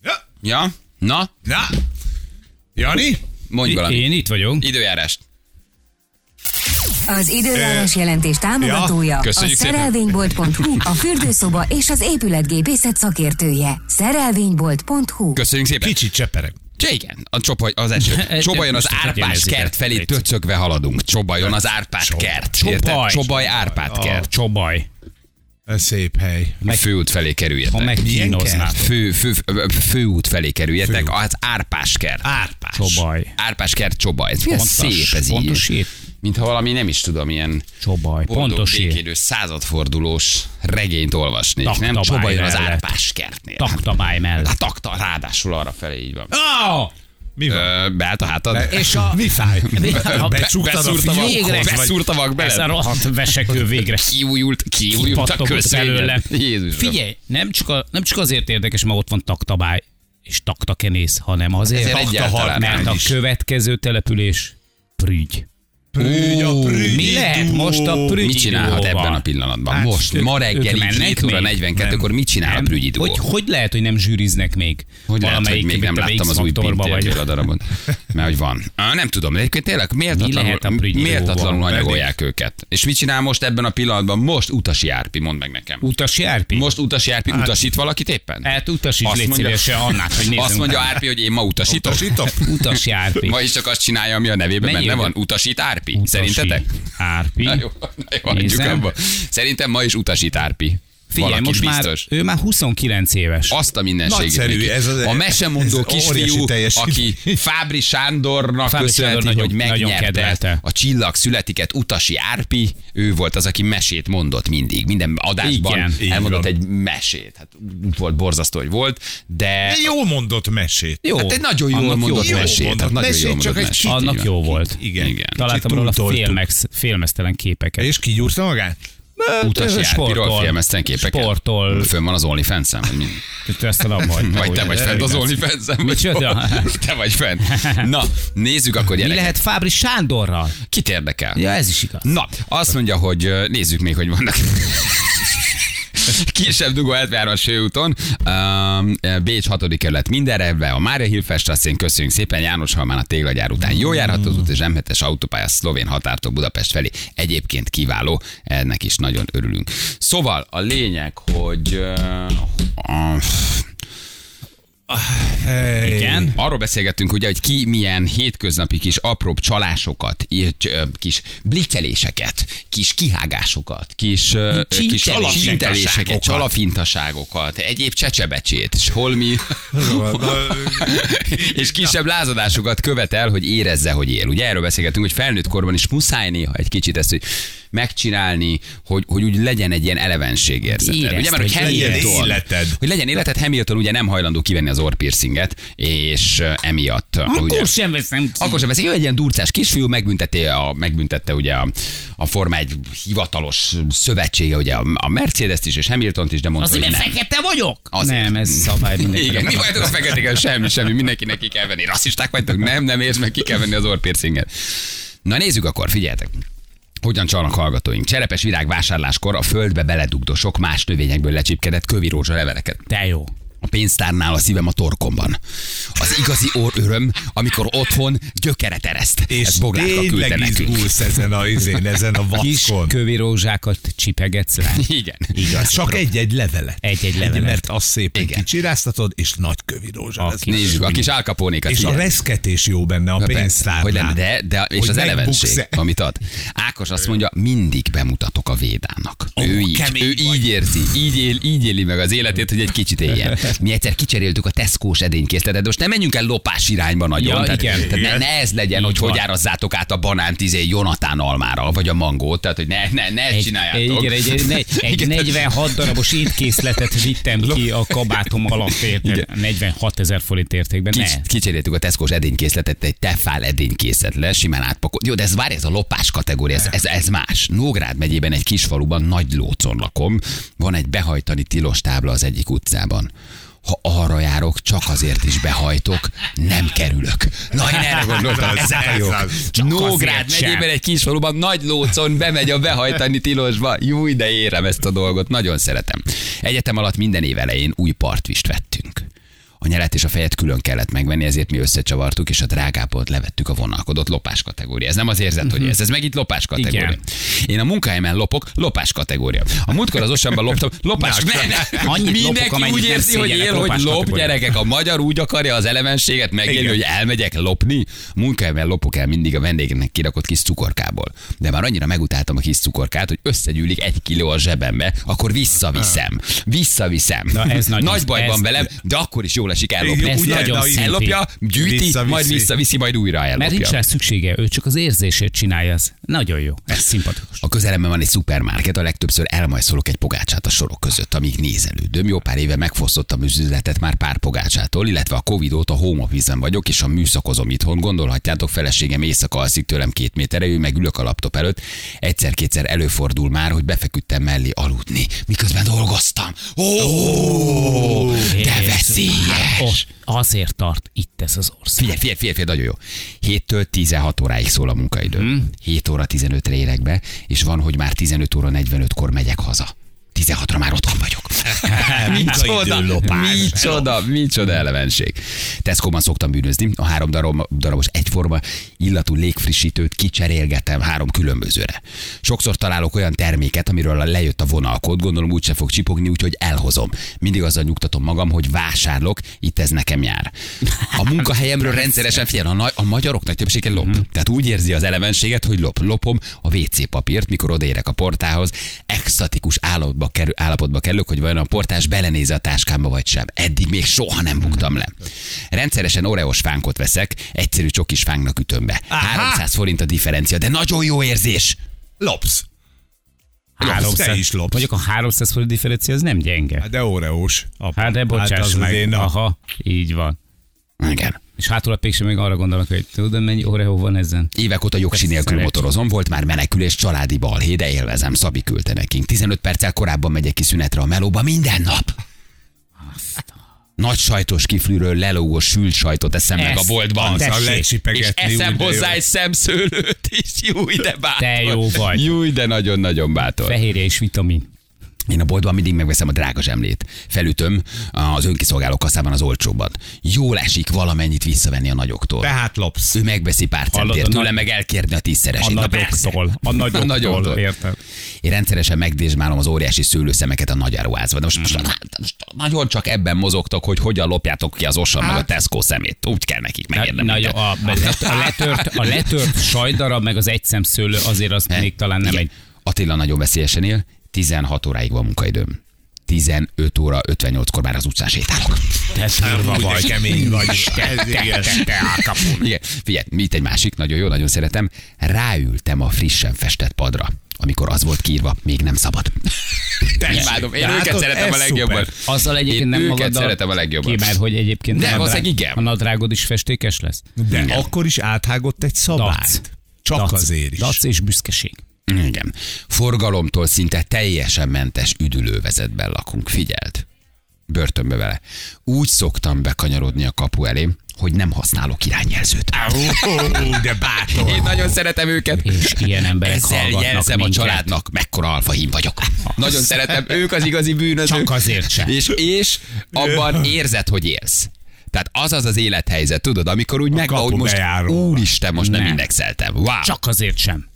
S3: Ja.
S2: Ja, na,
S3: Na, Jani?
S2: mondj valamit.
S4: Én itt vagyok.
S2: Időjárást.
S7: Az időjárás jelentés támogatója
S2: Ja,
S7: a
S2: köszönjük szépen.
S7: szerelvénybolt.hu, a fürdőszoba és az épületgépészet szakértője. Szerelvénybolt.hu
S2: Köszönjük szépen.
S3: Kicsit cseperek.
S2: Ja, igen, a csobaj, az eső.
S4: [laughs] Egy-
S2: Csobajon az
S4: most itt
S2: árpás
S4: megjelezik
S2: kert
S4: a-
S2: felé
S4: létszik.
S2: töcögve haladunk. Csobajon az árpád kert. Érted?
S4: Csobaj.
S2: Csobaj árpád kert.
S4: Hát Csobaj.
S3: Ez szép hely.
S2: Meg... Főút felé kerüljetek.
S4: Ha megkínoznád.
S2: Fő, fő, fő, főút felé kerüljetek, az Árpás kert.
S3: Árpás.
S4: Csobaj.
S2: Árpás kert Csobaj. Ez milyen
S4: Pontos,
S2: szép ez
S4: pontos
S2: így.
S4: ír.
S2: Mintha valami nem is tudom, ilyen
S4: Csobaj.
S2: boldog,
S4: Pontos ír.
S2: békélő, századfordulós regényt olvasnék.
S4: Tak,
S2: nem
S4: tabály
S2: Csobajon az
S4: mellett.
S2: Árpás kertnél.
S4: Taktabály
S2: Hát
S4: mellett.
S2: takta, ráadásul arra felé így van.
S4: Oh!
S3: Mi van?
S2: Ö, beállt a hátad?
S4: És a...
S3: Mi fáj? Becsuktad a
S2: Beszúrtam a
S4: Végre.
S3: fiókot?
S2: Vagy beszúrtavak
S4: Ez a
S2: bele.
S4: rohadt vesekő végre.
S2: Kiújult, kiújult a
S4: Kipattogott
S2: közvény.
S4: belőle.
S2: Jézusom.
S4: Figyelj, nem csak, a, nem csak azért érdekes, mert ott van taktabály és taktakenész, hanem azért,
S2: Ezért egyáltalán
S4: taktahal, mert a
S2: nem is.
S4: következő település prügy.
S3: Prügy a prügy.
S4: Mi lehet most a prügy
S2: Mit csinálhat
S4: duóval?
S2: ebben a pillanatban?
S4: Hát,
S2: Most,
S4: ők-
S2: ma
S4: ők
S2: reggel, így
S4: mennek
S2: 7 óra
S4: még?
S2: 42-kor mit csinál a
S4: Nem?
S2: prügyi duó?
S4: Hogy, hogy lehet, hogy nem zsűriznek még?
S2: Hogy lehet, hogy még
S4: mint
S2: nem
S4: a
S2: láttam az új
S4: X-faktorba,
S2: pintérről a
S4: [laughs]
S2: darabot. Mert hogy van. Á, Nem tudom, de egyébként tényleg méltatlanul,
S4: lehet a prügyi
S2: méltatlanul
S4: duóval?
S2: anyagolják őket. És mit csinál most ebben a pillanatban? Most utasi járpi, mondd meg nekem.
S4: Utas járpi?
S2: Most utasi járpi utasít valakit éppen?
S4: Hát utasíts légy szívesen Annát, hogy nézzünk.
S2: [laughs] Azt mondja Árpi, hogy én ma utasítok.
S3: Utasítok?
S4: Utas járpi.
S2: Ma is csak azt csinálja, ami a nevében
S4: Mennyi
S2: benne
S4: ugye?
S2: van. Utasít Árpi.
S4: Utasi
S2: Szerintetek?
S4: Árpi.
S2: Na jó, na jó hagyjuk
S4: Nézem.
S2: abba. Szerintem ma is utasít Árpi.
S4: Figyelj,
S2: Valaki
S4: most
S2: biztos. Ah,
S4: már, ő már 29 éves.
S2: Azt a mindenségét.
S3: Nagyszerű,
S2: neki.
S3: ez az-
S2: a mesemondó
S3: ez
S2: kisfiú,
S3: óriási teljesítmény.
S2: aki Fábri Sándornak
S4: Fábri
S2: köszönheti,
S4: Sándor
S2: hogy
S4: nagyon- nagyon
S2: megnyerte
S4: kedvelte.
S2: a csillag születiket utasi Árpi, ő volt az, aki mesét mondott mindig. Minden adásban
S4: Igen, így
S2: elmondott
S3: van.
S2: egy mesét. Hát volt borzasztó, hogy volt, de...
S3: Jól mondott mesét.
S4: Jó.
S2: Hát egy nagyon jól
S4: Annak
S2: mondott
S4: jó
S2: mesét.
S3: mondott
S2: Hát nagyon
S3: mesét,
S2: jól
S3: csak
S2: mondott
S3: egy
S2: mesét.
S3: kicsit-
S4: Annak jó volt.
S3: Igen.
S2: Igen.
S4: Találtam róla
S3: Kicsit túltoltuk.
S4: félmex, félmeztelen képeket.
S3: És kigyúrta magát?
S2: utas járpiról
S4: sportol.
S2: filmezten képeket.
S4: Sportol.
S2: Fönn van az OnlyFans-en, vagy mi?
S4: Te ezt nem vagy.
S2: Vagy te vagy fent az OnlyFans-en, vagy
S4: Micsoda?
S2: hol? Te vagy fent. Na, nézzük akkor
S4: Mi
S2: gyerekek.
S4: lehet Fábri Sándorral?
S2: Kit érdekel?
S4: Ja, ez is igaz.
S2: Na, azt mondja, hogy ö, nézzük még, hogy vannak. Kisebb dugó 73-as főúton, Öm, Bécs 6. kerület mindenre, ebbe a Mária Hilfestrasszén köszönjük szépen, János Halmán a téglagyár után jól járható az út, és M7-es autópálya szlovén határtól Budapest felé. Egyébként kiváló, ennek is nagyon örülünk. Szóval a lényeg, hogy ö, a-
S3: Hey.
S4: Igen.
S2: Arról beszélgettünk ugye, hogy ki milyen hétköznapi kis apróbb csalásokat, i- cs- ö, kis blikkeléseket, kis kihágásokat, kis, ö, kis
S4: Csínteléseket.
S2: csinteléseket, csalafintaságokat, egyéb csecsebecsét, és
S4: [laughs]
S2: holmi és kisebb lázadásokat követel, hogy érezze, hogy él. Ugye erről beszélgetünk, hogy felnőtt korban is muszáj néha egy kicsit ezt, hogy megcsinálni, hogy, hogy úgy legyen egy ilyen elevenség érzeted.
S4: Érezd,
S2: Ugye, mert hogy
S4: hogy legyen
S2: Hamilton,
S3: életed.
S2: hogy legyen életed, Hamilton ugye nem hajlandó kivenni az orrpiercinget, és ö, emiatt... ö, ugye,
S4: Akkor sem veszem ki.
S2: akkor sem veszik. Ő egy ilyen durcás kisfiú, megbüntette, a, megbüntette ugye a, a Forma egy hivatalos szövetsége, ugye a, a Mercedes-t is, és Hamiltont is, de mondta,
S4: Azért,
S2: hogy
S4: mert
S2: nem.
S4: fekete vagyok?
S2: Azért.
S4: Nem, ez
S2: [laughs]
S4: szabály mindenki.
S2: Igen, mi vagytok a feketéken? Semmi, semmi, mindenkinek ki kell venni. Rasszisták vagytok? Nem, nem érsz meg, ki kell venni az orrpiercinget. Na nézzük akkor, figyeljetek. Hogyan csalnak hallgatóink? Cserepes virág vásárláskor a földbe beledugdosok más növényekből lecsipkedett kövi rózsa leveleket.
S4: Te jó.
S2: A pénztárnál a szívem a torkomban. Az igazi orr öröm, amikor otthon gyökeret ereszt.
S3: És
S2: Ez Boglárka küldte
S3: tényleg
S2: nekünk.
S3: izgulsz ezen a, izén, ezen a
S4: Kis
S3: vackon.
S4: kövi rózsákat csipegetsz rá.
S2: Igen.
S3: Igaz, csak egy-egy levelet.
S4: Egy-egy levelet.
S3: Mert azt szépen
S2: Igen.
S3: kicsiráztatod, és nagy kövi rózsa
S4: A
S3: lesz.
S4: kis-
S2: Nézzük, a kis álkapónékat.
S3: És a
S2: figyelj.
S3: reszketés jó benne a
S2: Na, persze, Hogy
S3: pénztárnál.
S2: lenne, de, de és
S3: Hogy
S2: az elevenség,
S3: megbuksz-e.
S2: amit ad. Ákos azt mondja, mindig bemutatok a védának.
S3: Ó,
S2: ő így,
S3: kemény
S2: ő
S3: vagy.
S2: így érzi, így, él, így éli meg az életét, hogy egy kicsit éljen. mi egyszer kicseréltük a Tesco-s edénykészletet, de most nem menjünk el lopás irányba nagyon.
S4: Ja,
S2: tehát,
S4: igen.
S2: Tehát ne,
S3: Igen.
S2: ne, ez legyen,
S4: Így
S2: hogy hogy
S4: van.
S2: árazzátok át a banánt izé Jonatán almára, vagy a mangót, tehát hogy ne, ne, ne ezt
S4: Egy-
S2: csináljátok.
S4: Igen, egy, egy, negy-
S2: [laughs]
S4: egy
S2: Igen.
S4: 46 darabos étkészletet vittem ki a kabátom alatt, érted? 46 ezer forint értékben. Ne.
S2: Kics, kicseréltük a Tesco-s edénykészletet egy tefál edénykészletre, simán átpakolt. Jó, de ez várj, ez a lopás kategória, ez, ez, ez más. Nógrád megyében egy kis faluban, nagy lócon lakom, van egy behajtani tilos tábla az egyik utcában. Ha arra járok, csak azért is behajtok, nem kerülök. Na, én erre gondoltam,
S3: Ez
S2: ez
S3: az,
S2: a
S3: ez
S2: jó.
S3: az.
S2: Csak Nógrád
S4: azért sem.
S2: megyében egy kis faluban, nagy lócon bemegy a behajtani tilosba. Jó, de érem ezt a dolgot, nagyon szeretem. Egyetem alatt minden év elején új partvist vettünk. A nyelet és a fejet külön kellett megvenni, ezért mi összecsavartuk, és a drágából levettük a vonalkodott lopás kategória. Ez nem az érzet, hogy ez, ez meg itt lopás kategória.
S4: Mhm. Igen.
S2: Én a munkahelyemen lopok, lopás kategória. A múltkor az osamban loptam, lopás. Ne, ne.
S4: Annyit lopok,
S2: Mindenki
S4: amennyit
S2: úgy
S4: nem
S2: érzi, hogy él,
S4: szégyellek,
S2: hogy
S4: lopás
S2: lop,
S4: kategória.
S2: gyerekek. A magyar úgy akarja az elevenséget megélni, hogy elmegyek lopni. Munkahelyemen lopok el mindig a vendégnek kirakott kis cukorkából. De már annyira megutáltam a kis cukorkát, hogy összegyűlik egy kiló a zsebembe, akkor visszaviszem. Visszaviszem.
S4: Ah. Na, ez nagyon-
S2: Nagy baj van
S4: ez-
S2: velem, de akkor is jól esik ellopni.
S3: Jó,
S2: Ez
S3: ugye,
S2: nagyon
S3: na, így-
S2: ellopja, gyűjti,
S3: Visszaviszi.
S2: majd visszaviszi, majd újra ellopja.
S4: Mert nincs rá szüksége, ő csak az érzését csinálja. Ez nagyon jó, ez szimpatikus.
S2: A közelemben van egy szupermarket, a legtöbbször elmajszolok egy pogácsát a sorok között, amíg nézelődöm. Jó pár éve megfosztottam az üzletet már pár pogácsától, illetve a Covid óta home office vagyok, és a műszakozom itthon. Gondolhatjátok, feleségem éjszaka alszik tőlem két méterre, ő meg ülök a laptop előtt. Egyszer-kétszer előfordul már, hogy befeküdtem mellé aludni, miközben dolgoztam. Ó, de
S4: Jézus.
S2: veszélyes!
S4: Ott azért tart itt ez az ország.
S2: Figyelj, figyelj, figyelj, figyelj, nagyon jó. 7-től 16 óráig szól a munkaidő. Hmm. 7 óra 15-re érek be, és van, hogy már 15 óra 45-kor megyek haza. 16-ra már otthon [laughs] vagyok.
S3: Munkaidőlopás.
S2: micsoda, micsoda elevenség. Tesco-ban szoktam bűnözni, a három darab, darabos egyforma illatú légfrissítőt kicserélgetem három különbözőre. Sokszor találok olyan terméket, amiről lejött a vonalkod, gondolom úgyse fog csipogni, úgyhogy elhozom. Mindig azzal nyugtatom magam, hogy vásárlok, itt ez nekem jár. A munkahelyemről rendszeresen figyel, a, nagy, a magyarok nagy többsége lop. Tehát úgy érzi az elevenséget, hogy lop. Lopom a WC papírt, mikor odaérek a portához, extatikus állapotba, kerül, állapotba kerülök, hogy vajon a portás belenéz a táskámba vagy sem. Eddig még soha nem buktam le. Rendszeresen oreos fánkot veszek, egyszerű csokis fánknak ütöm be. 300 forint a differencia, de nagyon jó érzés.
S3: Lopsz.
S2: Hát,
S3: te is lopsz.
S4: Mondjuk a 300 forint differencia, az nem gyenge.
S3: Hát De óreós.
S4: Hát de
S3: Hát
S4: bocsáss
S3: az
S4: meg.
S3: azért, na.
S4: Aha, így van.
S2: Igen.
S4: És hátul a péksem még arra gondolok, hogy tudod, mennyi Oreo van ezen?
S2: Évek óta jogsi nélkül
S4: Szeret.
S2: motorozom, volt már menekülés, családi balhé, de élvezem, Szabi küldte nekünk. 15 perccel korábban megyek ki szünetre a melóba minden nap. Nagy sajtos kiflűről lelógó sült sajtot eszem meg a
S4: Ezt-
S2: boltban. Szóval
S4: Tessék.
S3: Azzal
S2: És
S3: lecsipegetni.
S2: eszem
S3: úgy, de jó.
S2: hozzá egy szemszőlőt is, júj, de bátor.
S4: Te jó vagy.
S2: Júj, de nagyon-nagyon bátor.
S4: Fehérje és vitamin.
S2: Én a boltban mindig megveszem a drága zsemlét. Felütöm az önkiszolgáló kasszában az olcsóbbat. Jól esik valamennyit visszavenni a nagyoktól.
S3: Tehát Hát lopsz.
S2: Ő megveszi pár
S4: Hallod,
S2: centért,
S4: a
S2: tőle
S4: nagy-
S2: meg elkérni a
S4: A
S2: tízszeresét. Na persze.
S4: nagyoktól.
S2: [laughs]
S4: A nagyoktól,
S2: nagyoktól.
S4: érted?
S2: Én rendszeresen megdésmálom az óriási szőlőszemeket a nagy áruházban. De most,
S4: Mm.
S2: most, most nagyon csak ebben mozogtok, hogy hogyan lopjátok ki az osa meg a Tesco szemét. Úgy kell nekik
S4: Na,
S2: megérnem.
S4: Hát- na, jó, a, let- a, letört, a letört sajdarab, meg az egyszemszőlő, azért azt még talán nem
S2: Igen.
S4: egy...
S2: Attila nagyon veszélyesen él, 16 óráig van munkaidőm. 15 óra 58-kor már az utcán sétálok. [laughs]
S4: Te szarva
S3: Úgy, de
S4: vagy.
S3: kemény vagy. Ez igen.
S2: Igen, figyelj, mi itt egy másik, nagyon jó, nagyon szeretem. Ráültem a frissen festett padra, amikor az volt kiírva, még nem szabad. Imádom, én
S3: látod,
S2: őket szeretem
S3: ez
S2: a legjobban.
S3: szuper.
S4: Azzal egyébként
S2: Én
S4: nem
S2: őket
S4: magaddal
S2: szeretem a legjobban.
S4: Kimer, hogy
S2: De
S4: egyébként a nadrág-
S2: valószínűleg igen.
S4: a nadrágod is festékes lesz.
S3: De akkor is áthágott egy
S4: Dac.
S3: szabályt. Csak
S4: Dac.
S3: azért is.
S4: Dac és büszkeség.
S2: Igen. Forgalomtól szinte teljesen mentes üdülővezetben lakunk. Figyeld. Börtönbe vele. Úgy szoktam bekanyarodni a kapu elé, hogy nem használok irányjelzőt.
S3: Ó, de bátor.
S2: Én nagyon szeretem őket.
S4: És ilyen emberek
S2: Ezzel
S4: hallgatnak
S2: jelzem
S4: minket.
S2: a családnak, mekkora alfahím vagyok. Nagyon szeretem, ők az igazi bűnözők.
S4: Csak azért sem.
S2: És, és abban érzed, hogy élsz. Tehát az az az élethelyzet, tudod, amikor úgy meg,
S3: kapu
S2: hogy most
S3: bejáró.
S2: úristen, most nem,
S4: Nem.
S2: indexeltem. Wow.
S4: Csak azért sem.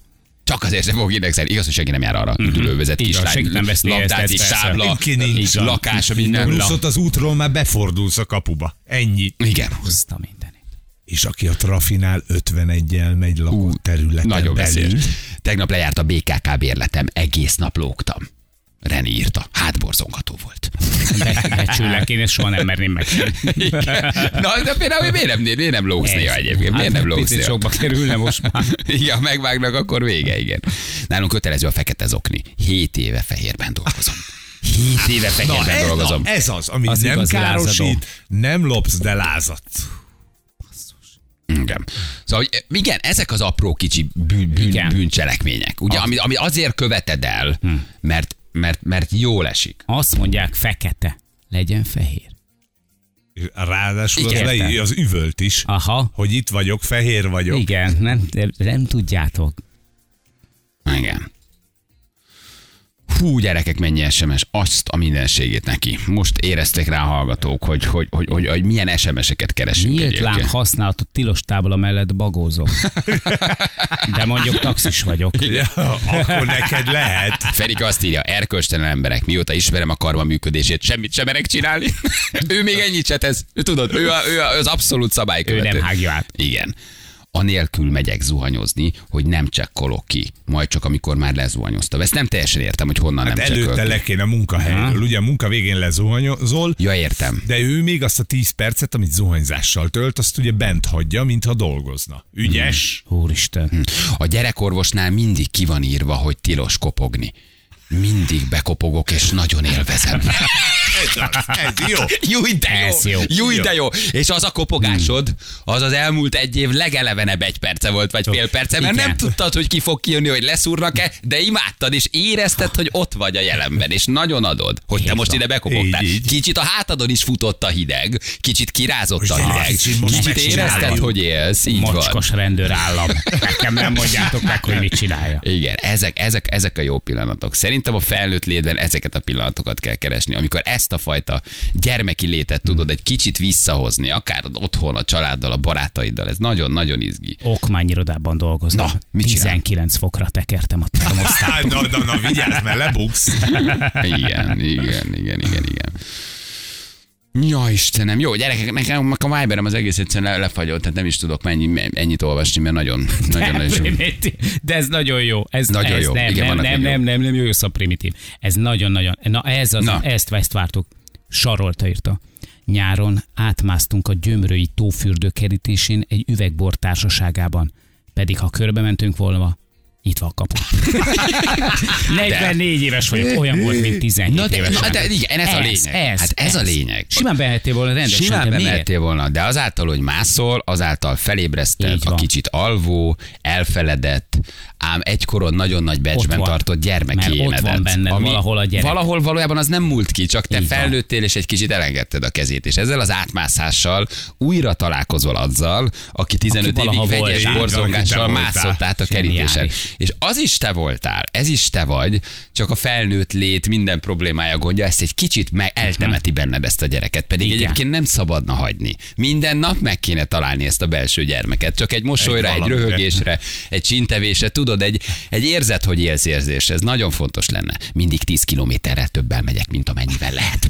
S2: Csak azért sem fogok indexelni. Igaz, hogy senki nem jár arra. Üdülővezet,
S4: Mhm. Így van,
S2: kislány,
S4: senki nem veszi
S2: labdázik,
S4: ezt, persze.
S2: sábla,
S3: Ki nincs.
S2: lakás, minden.
S3: Plusz ott az útról már befordulsz a kapuba. Ennyi.
S2: Igen.
S4: Azt a mindenit.
S3: És aki a trafinál 51-el megy lakott területen
S2: Nagyon
S3: belül.
S2: veszélyes. Tegnap lejárt a BKK bérletem, egész nap lógtam. René írta. Hát borzongató volt.
S4: Be, becsüllek, én ezt soha nem merném meg.
S2: Igen. Na, de például miért nem, miért nem lógsz néha egyébként? Miért nem lógsz
S4: hát Picit
S2: néha?
S4: sokba kerülne most már.
S2: [laughs] Igen, ha megvágnak, akkor vége, igen. Nálunk kötelező a fekete zokni. Hét éve fehérben dolgozom. Hét éve
S3: Na,
S2: fehérben
S3: ez,
S2: dolgozom.
S3: na, ez az, ami
S4: Az
S3: nem
S4: igazi lázadó.
S3: károsít, nem lopsz, de lázadsz.
S2: Igen. Szóval hogy igen, ezek az apró kicsi bűn, bűn,
S4: Igen. Hm.
S2: bűncselekmények, ugye, ami, ami azért követed el, mert, mert, mert jól esik.
S4: Azt mondják, fekete, legyen fehér.
S3: Ráadásul az,
S4: Igen.
S3: leír, az üvölt is,
S4: Aha.
S3: hogy itt vagyok, fehér vagyok.
S4: Igen, nem, nem tudjátok.
S2: Igen. Hú, gyerekek, mennyi SMS, azt a mindenségét neki. Most érezték rá a hallgatók, hogy, hogy, hogy, hogy, hogy milyen SMS-eket keresünk.
S4: Nyílt
S2: egyébként.
S4: láng használatot tilos tábla mellett bagózom. De mondjuk taxis vagyok.
S3: Ja, akkor neked lehet.
S2: Ferika azt írja, erkölcstelen emberek, mióta ismerem a karma működését, semmit sem merek
S4: [laughs]
S2: csinálni. ő még ennyit se tesz. Ő tudod, ő, a, ő a, az abszolút szabálykövető.
S4: Ő nem hágja át.
S2: Igen. Anélkül megyek zuhanyozni, hogy nem csekkolok ki, majd csak amikor már lezuhanyoztam. Ezt nem teljesen értem, hogy honnan
S3: Hát
S2: nem
S3: előtte
S2: csekkolok.
S3: le kéne a munkahelyről. Ugye a munka végén lezuhanyozol,
S2: Ja, értem.
S3: de ő még azt a 10 percet, amit zuhanyzással tölt, azt ugye bent hagyja, mintha dolgozna. Ügyes.
S4: Úristen.
S2: A gyerekorvosnál mindig ki van írva, hogy tilos kopogni. Mindig bekopogok, és nagyon élvezem.
S3: [laughs] Ez jó. Hmm.
S2: Júj, de
S4: Ez
S2: jó!
S4: jó.
S2: Júj, de jó! És az a kopogásod, az az elmúlt egy év legelevenebb egy perce volt, vagy fél perce, mert
S4: Igen.
S2: nem tudtad, hogy ki fog kijönni, hogy leszúrnak-e, de imádtad, és érezted, hogy ott vagy a jelenben, és nagyon adod, hogy te
S4: Így
S2: most
S4: van.
S2: ide bekopogtál.
S3: Így, így.
S2: Kicsit a hátadon is futott a hideg, kicsit kirázott a
S3: Most
S2: hideg,
S3: kicsit most
S2: kicsit
S3: megcsináljuk.
S2: érezted, hogy élsz, így van.
S4: Mocskos rendőrállam. Nekem nem mondjátok meg, hogy mit csinálja.
S2: Igen, ezek, ezek, ezek a jó pillanatok. Szerintem a felnőtt létben ezeket a pillanatokat kell keresni, amikor ezt a fajta gyermeki létet tudod egy kicsit visszahozni, akár otthon, a családdal, a barátaiddal. Ez nagyon-nagyon izgi.
S4: Okmányirodában dolgozom.
S2: Na, mit csinál?
S4: 19 fokra tekertem a
S2: Hmm.
S4: termosztát.
S3: Hát, na, na, na, vigyázz, mert lebuksz. Hát
S2: Igen, igen, igen, igen, igen. Ja, Istenem, jó, gyerekek, nekem a Viberem az egész egyszerűen le- lefagyott, tehát nem is tudok mennyi, ennyit olvasni, mert nagyon, nagyon, nagyon
S4: De ez nagyon jó. Ez,
S2: Nagyon
S4: ez
S2: jó.
S4: Nem,
S2: Igen,
S4: nem,
S2: vannak
S4: nem,
S2: még
S4: nem,
S2: jó.
S4: nem, nem, jó, jó primitív. Ez nagyon-nagyon. Na, ez az,
S2: Na.
S4: Na. ezt, ezt vártuk. Sarolta írta. Nyáron átmásztunk a gyömrői tófürdő kerítésén egy üvegbor társaságában. Pedig ha körbe mentünk volna, nyitva a
S2: [laughs]
S4: kapu. [laughs] 44 éves vagyok, olyan volt, mint 17
S2: Na de-
S4: éves.
S2: na de igen, ez a lényeg. Hát ez a lényeg.
S4: Simán behettél volna rendesen,
S2: Simán
S4: de miért?
S2: bemehettél volna, de azáltal, hogy mászol, azáltal felébreszted
S4: Így
S2: a
S4: van.
S2: kicsit alvó, elfeledett, ám egykoron nagyon nagy becsben
S4: van.
S2: tartott
S4: Mert
S2: gyermeki
S4: ott
S2: énedet.
S4: van benned valahol a gyerek.
S2: Valahol valójában az nem múlt ki, csak te
S4: Így van.
S2: felnőttél és egy kicsit elengedted a kezét, és ezzel az átmászással újra találkozol azzal, aki 15
S4: valaha
S2: évig
S4: volt,
S2: vegyes
S4: így van,
S2: borzongással
S3: aki te
S2: mászott
S3: voltál.
S2: át a
S4: Zseniális.
S2: kerítésen. És az is te voltál, ez is te vagy, csak a felnőtt lét minden problémája gondja, ezt egy kicsit meg eltemeti benned ezt a gyereket, pedig
S4: Igen.
S2: egyébként nem szabadna hagyni. Minden nap meg kéne találni ezt a belső gyermeket, csak egy mosolyra, egy, egy
S3: valamire.
S2: röhögésre, egy csintevésre, tudod, egy, egy érzet, hogy élsz érzés, ez nagyon fontos lenne. Mindig 10 kilométerrel többel megyek, mint amennyivel lehet.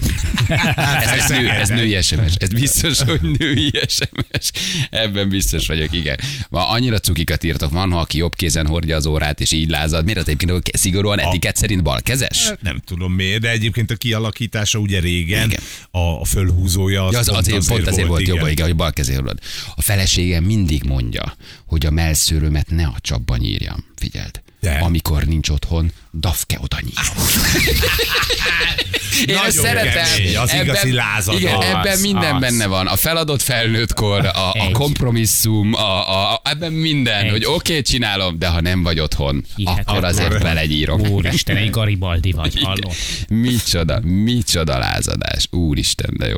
S2: ez, ez, nő, ez női SMS, ez biztos, hogy női SMS. Ebben biztos vagyok, igen. Ma annyira cukikat írtok, van, ha aki jobb kézen hordja az órát, és így lázad. Miért az egyébként szigorúan etikett szerint balkezes?
S3: Nem tudom miért, de egyébként a kialakítása ugye régen,
S2: Igen.
S3: a, a fölhúzója az,
S2: Ja, az
S3: pont
S2: azért, pont azért volt jobb, igen, hogy bal kezéről. A feleségem mindig mondja, hogy a mellszőrömet ne a csapban nyírjam. Figyeld.
S3: De.
S2: Amikor nincs otthon, dafke oda nyír. Én
S3: Nagyon
S2: ezt szeretem.
S3: kemény, az igazi lázadó.
S2: Igen,
S3: Az,
S2: ebben minden
S4: az.
S2: benne van. A feladott felnőttkor, a, a
S4: Egy.
S2: kompromisszum, a, a, a, ebben minden,
S4: Egy.
S2: hogy oké, okay, csinálom, de ha nem vagy otthon,
S4: Hihetetlen.
S2: akkor azért belegyírok.
S4: Úristen, egy Garibaldi vagy, Hát, halló.
S2: Micsoda, micsoda lázadás. Úristen, de jó.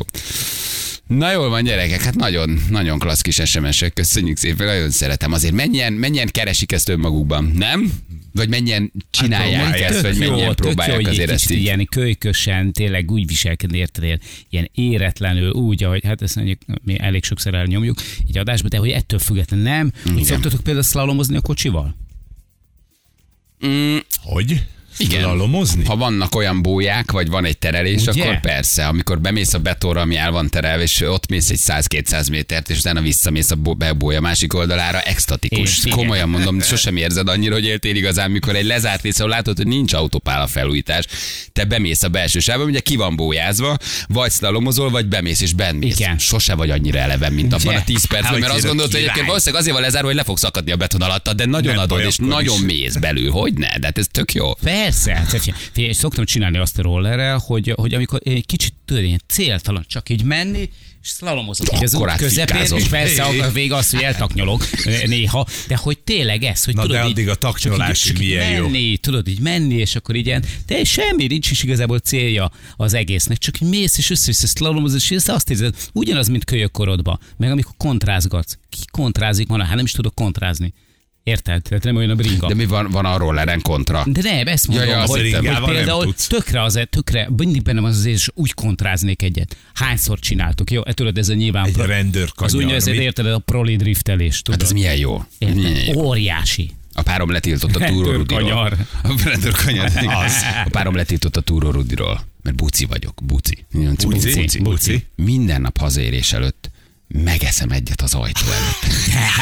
S2: Na jól van, gyerekek, hát nagyon, nagyon klassz kis SMS-ek, köszönjük szépen, nagyon szeretem. Azért mennyien, mennyien keresik ezt önmagukban, nem? Vagy mennyien csinálják
S3: próbálják.
S2: ezt, vagy
S4: Tök
S2: mennyien
S4: Hát tök
S2: próbálják
S4: hogy egy
S2: azért ezt
S4: kicsit
S2: így.
S4: Ilyen kölykösen, tényleg úgy viselkedni érted, ilyen- ilyen éretlenül, úgy, ahogy hát ezt mondjuk mi elég sokszor elnyomjuk így adásba, de hogy ettől függetlenül nem. Úgy szoktatok például szlalomozni a kocsival?
S3: Hogy?
S2: Igen.
S3: Lalomozni?
S2: Ha vannak olyan bóják, vagy van egy terelés,
S4: Ugye?
S2: Ugye? akkor persze, amikor bemész a betóra, ami el van terelve, és ott mész egy 100-200 métert, és utána visszamész a bó- be- bója másik oldalára, extatikus.
S4: És igen.
S2: Komolyan
S3: [laughs]
S2: mondom, sosem érzed annyira, hogy éltél igazán, mikor egy lezárt rész, ahol látod, hogy nincs autópála felújítás, te bemész a belső sávba, ugye ki van bójázva, vagy szlalomozol, vagy bemész és benn mész.
S4: Igen.
S2: Sose vagy annyira eleven, mint abban
S4: Ugye?
S2: a 10 percben,
S3: Hogy
S2: mert azt
S3: jön a
S2: gondolod, hogy
S3: király.
S2: egyébként valószínűleg azért van lezárva, hogy le fogsz akadni a beton alatt, de nagyon
S3: Nem
S2: adod,
S3: baj,
S2: és
S3: akkor is.
S2: nagyon mész belül, hogy ne, de hát ez tök jó.
S4: Persze, hát figyelj, figyelj, szoktam csinálni azt a rollerrel, hogy, hogy amikor egy kicsit tudod, ilyen céltalan csak így menni, és szlalomozok így az út
S2: Akkorát
S4: közepén,
S2: fikázol.
S4: és persze a vég az, hogy eltaknyolok néha, de hogy tényleg ez, hogy
S3: Na,
S4: tudod
S3: de
S4: így,
S3: addig a taknyolás
S4: csak így- csak így
S3: milyen jó.
S4: menni, jó. tudod így menni, és akkor így ilyen, de semmi nincs is igazából célja az egésznek, csak így mész és össze-vissza szlalomozol, és ezt azt érzed, ugyanaz, mint kölyökkorodba, meg amikor kontrázgatsz. Ki kontrázik ma? Hát nem is tudok kontrázni. Érted? Tehát nem olyan a bringa.
S2: De mi van, van a rolleren kontra?
S4: De nem, ezt mondom,
S2: Ja, ja,
S4: ja,
S2: azt
S4: hogy,
S3: hittem.
S4: hogy
S3: Ingával nem
S4: például
S3: tudsz.
S4: tökre az, tökre, mindig bennem az az érzés, úgy kontráznék egyet. Hányszor csináltuk, jó? E Tudod, ez a nyilván...
S3: Egy rendőr
S4: az
S3: kanyar,
S4: úgynevezett,
S3: mi?
S4: érted, a proli driftelés, tudod?
S2: Hát ez milyen jó. Milyen
S4: Érted?
S2: jó.
S4: Óriási.
S2: A párom letiltott a túrorudiról.
S4: [laughs] Rendőrkanyar.
S2: A rendőrkanyar. Az. A párom letiltott a túrorudiról. Mert buci vagyok. Buci. Buci.
S3: Buci? Buci.
S2: Minden nap hazaérés előtt megeszem egyet az ajtó előtt.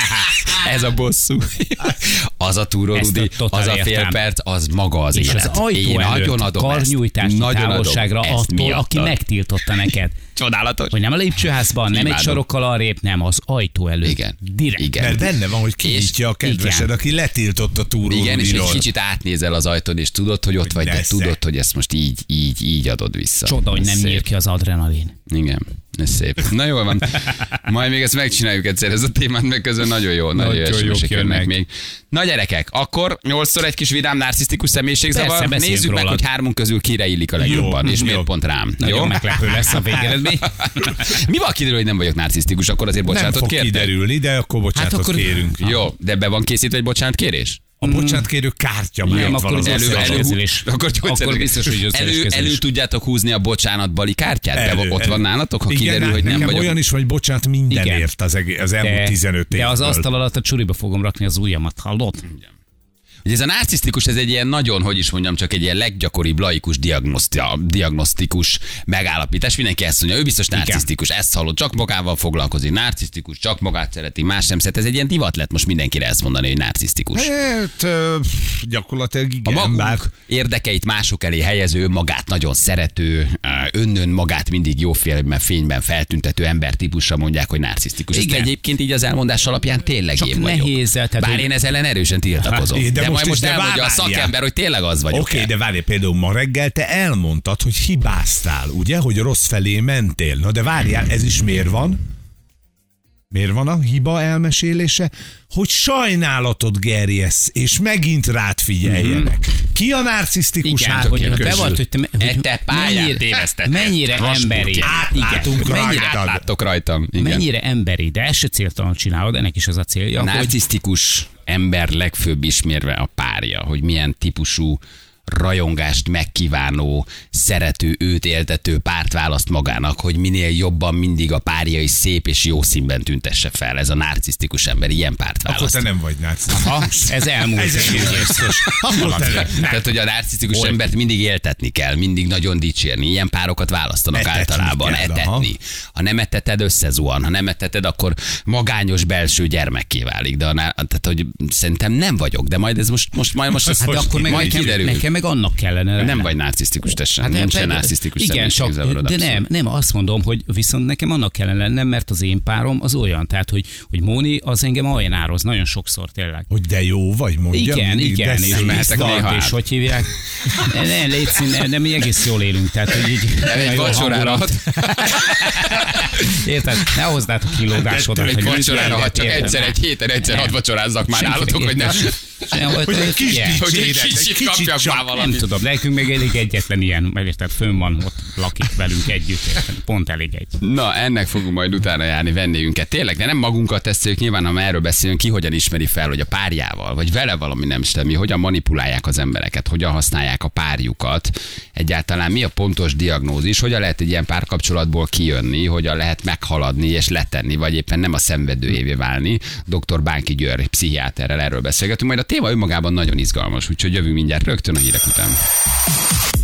S4: [laughs]
S2: Ez a bosszú. Az a
S4: Ezt a
S2: túrorudi,
S4: totál
S2: az a fél
S4: értem.
S2: perc, az maga az
S4: És
S2: élet.
S4: az ajtó
S2: Én
S4: előtt,
S2: nagyon adom ezt.
S4: karnyújtási
S2: Nagyon adom
S4: távolságra
S2: ezt
S4: attól, aki
S2: miattad.
S4: megtiltotta neked.
S2: Csodálatos.
S4: Hogy nem a lépcsőházban, nem egy
S2: Imádom.
S4: sarokkal arrébb, nem, az ajtó előtt.
S2: Igen.
S4: Direkt.
S2: Igen.
S3: Mert benne van, hogy
S2: És-
S3: kinyitja a kedvesed,
S4: igen.
S3: aki letiltott a túróról.
S2: Igen, és egy kicsit átnézel az ajtón, és tudod, hogy ott vagy, de
S3: lesz-e.
S2: tudod, hogy ezt most így, így, így adod vissza.
S4: Csoda, hogy
S2: Ez
S4: nem
S2: szép.
S4: nyír ki az adrenalin.
S2: Igen, ez szép. Na jól van. Majd még ezt megcsináljuk egyszer, ez a témát, meg közben nagyon jó, nagyon,
S4: Nagyon
S2: jó
S4: jók
S2: jók jönnek
S4: jönnek.
S2: még. Na gyerekek, akkor nyolcszor egy kis vidám narcisztikus
S4: Persze,
S2: személyiségzavar.
S4: beszéljünk
S2: Nézzük meg,
S4: rólad.
S2: hogy hármunk közül kire illik a legjobban, és miért pont rám.
S4: Nagyon
S2: Jó? [laughs]
S4: meglepő lesz a végeredmény.
S2: Mi van ha kiderül, hogy nem vagyok narcisztikus, akkor azért
S3: Nem
S2: bocsánatot
S3: fog
S2: kértek. Hát
S3: kiderülni, de akkor bocsánatot
S4: akkor-
S3: kérünk.
S2: Jó, de be van készítve egy bocsánatkérés?
S3: A bocsánatkérő kártya már
S4: Nem,
S3: ott
S4: akkor
S3: van az
S4: ugye
S3: asztalon.
S4: elő- elő- kezelés.
S2: Akkor, gyógyszeres-
S4: Akkor biztos, hogy gyógyszeres
S2: elő,
S4: kezelés.
S2: elő tudjátok húzni a bocsánat bali kártyát? Elő, de ott van nálatok, ha
S3: Igen,
S2: kiderül,
S3: hát
S2: hogy nem
S3: nekem
S2: vagyok.
S3: olyan is, hogy bocsánat,
S4: Igen.
S3: mindenért az, egé- az elmúlt 15 évből.
S4: de az asztal alatt a csuriba fogom rakni az ujjamat, hallod?
S2: Ugye ez a narcisztikus, ez egy ilyen nagyon, hogy is mondjam, csak egy ilyen leggyakoribb laikus diagnosztia, diagnosztikus megállapítás. Mindenki ezt mondja, ő biztos narcisztikus, ezt hallod, csak magával foglalkozik, narcisztikus, csak magát szereti, más nem szeret. Ez egy ilyen divat lett most mindenkire ezt mondani, hogy narcisztikus.
S3: Hát, ö, gyakorlatilag
S2: A
S3: igen,
S2: magunk
S3: bár
S2: érdekeit mások elé helyező, magát nagyon szerető, önnön magát mindig jófélben fényben feltüntető embertípusra mondják, hogy narcisztikus. Igen.
S4: Igen.
S2: Ezt egyébként így az elmondás alapján tényleg
S4: Csak
S2: én vagyok.
S4: nehéz, tehát
S2: Bár
S4: hogy-
S2: én ez ellen erősen tiltakozom.
S3: Hát,
S2: de,
S3: de most
S2: majd
S3: is,
S2: most
S3: de
S2: elmondja a
S3: várjál.
S2: szakember, hogy tényleg az vagyok.
S3: Oké, okay, de várj, például ma reggel te elmondtad, hogy hibáztál, ugye, hogy rossz felé mentél. Na de várjál, ez is miért van? Miért van a hiba elmesélése? Hogy sajnálatot gerjesz, és megint rád figyeljenek. Ki a narcisztikus
S4: Mhm. Igen,
S3: hát?
S4: hogy
S2: tök
S4: be
S2: közül.
S4: volt, hogy te, me-
S2: E
S4: hogy
S2: te pályán tévesztettél.
S4: mennyire
S2: Vasburg
S4: emberi.
S2: kell.
S3: Átlátunk
S4: Igen.
S3: rajtad.
S4: mennyire,
S2: Láttok rajtam. Igen.
S4: mennyire emberi, de ezt se céltalan csinálod, ennek is az a célja,
S2: A
S4: hogy
S2: narcisztikus ember legfőbb ismérve a párja, hogy milyen típusú rajongást megkívánó, szerető, őt éltető párt választ magának, hogy minél jobban mindig a párja is szép és jó színben tüntesse fel. Ez a narcisztikus ember ilyen párt
S3: Akkor
S2: választ.
S3: te nem vagy narcisztikus.
S4: ha, ez
S2: [laughs]
S4: elmúlt.
S3: Ez egész biztos. Akkor te nem.
S2: Tehát, hogy a narcisztikus
S4: Hogy?
S2: embert mindig éltetni kell, mindig nagyon dicsérni. Ilyen párokat választanak
S3: Etetni
S2: általában,
S3: kell,
S2: etetni.
S3: aha.
S2: Ha nem eteted, összezuhan. Ha nem eteted, akkor magányos belső gyermekké válik. De a, nar- tehát, hogy szerintem nem vagyok, de majd ez most, most majd most,
S4: Hát
S2: hát
S4: akkor meg
S2: majd
S4: nekem,
S2: kiderül.
S4: nekem meg annak kellene. lennem.
S2: nem vagy narcisztikus, tessen. Hát
S4: Hát
S2: nincs
S4: persze.
S2: narcisztikus
S4: Igen, csak,
S2: személyiségzavarod,
S4: de
S2: abszolút.
S4: nem, nem, azt mondom, hogy viszont nekem annak kellene lennem, mert az én párom az olyan, tehát, hogy, hogy Móni az engem ajánlároz nagyon sokszor tényleg.
S3: Hogy de jó vagy, mondja.
S4: Igen,
S3: mindig,
S4: igen,
S3: de
S4: és
S3: szép
S2: mehetek
S3: vagy.
S2: néha
S4: néha és
S2: át.
S4: hogy hívják? Ne, légy szín, de mi egész jól élünk, tehát hogy így...
S2: Nem egy
S4: [laughs] jó
S2: vacsorára
S4: hangulat. Érted? Ne hozd át a kilódásodat.
S2: Hát Egy
S4: hogy-
S2: vacsorára, ha csak
S4: Érted?
S2: egyszer, egy héten, egyszer hadd vacsorázzak már
S4: Senki-
S2: nálatok, hogy nem.
S4: Sem-
S3: Hogy egy kis
S4: Igen.
S2: [laughs] Hogy egy
S3: dicséret, egy
S2: kicsit kapjak
S3: csak.
S2: már
S4: Nem
S2: valamit.
S4: tudom, nekünk még elég egyetlen ilyen, mert érted, fönn van, ott lakik velünk együtt, érted? pont elég egy.
S2: Na, ennek fogunk majd utána járni, vennéjünket. Tényleg, de nem magunkat tesszük, nyilván, ha már erről beszélünk, ki hogyan ismeri fel, hogy a párjával, vagy vele valami nem stemmi, hogyan manipulálják az embereket, hogyan használják a párjukat. Egyáltalán mi a pontos diagnózis, hogyan lehet egy ilyen párkapcsolatból kijönni, hogyan lehet meghaladni és letenni, vagy éppen nem a szenvedőjévé válni. Dr. Bánki György, pszichiáterrel erről beszélgetünk. Majd a téma önmagában nagyon izgalmas, úgyhogy jövünk mindjárt rögtön a hírek után.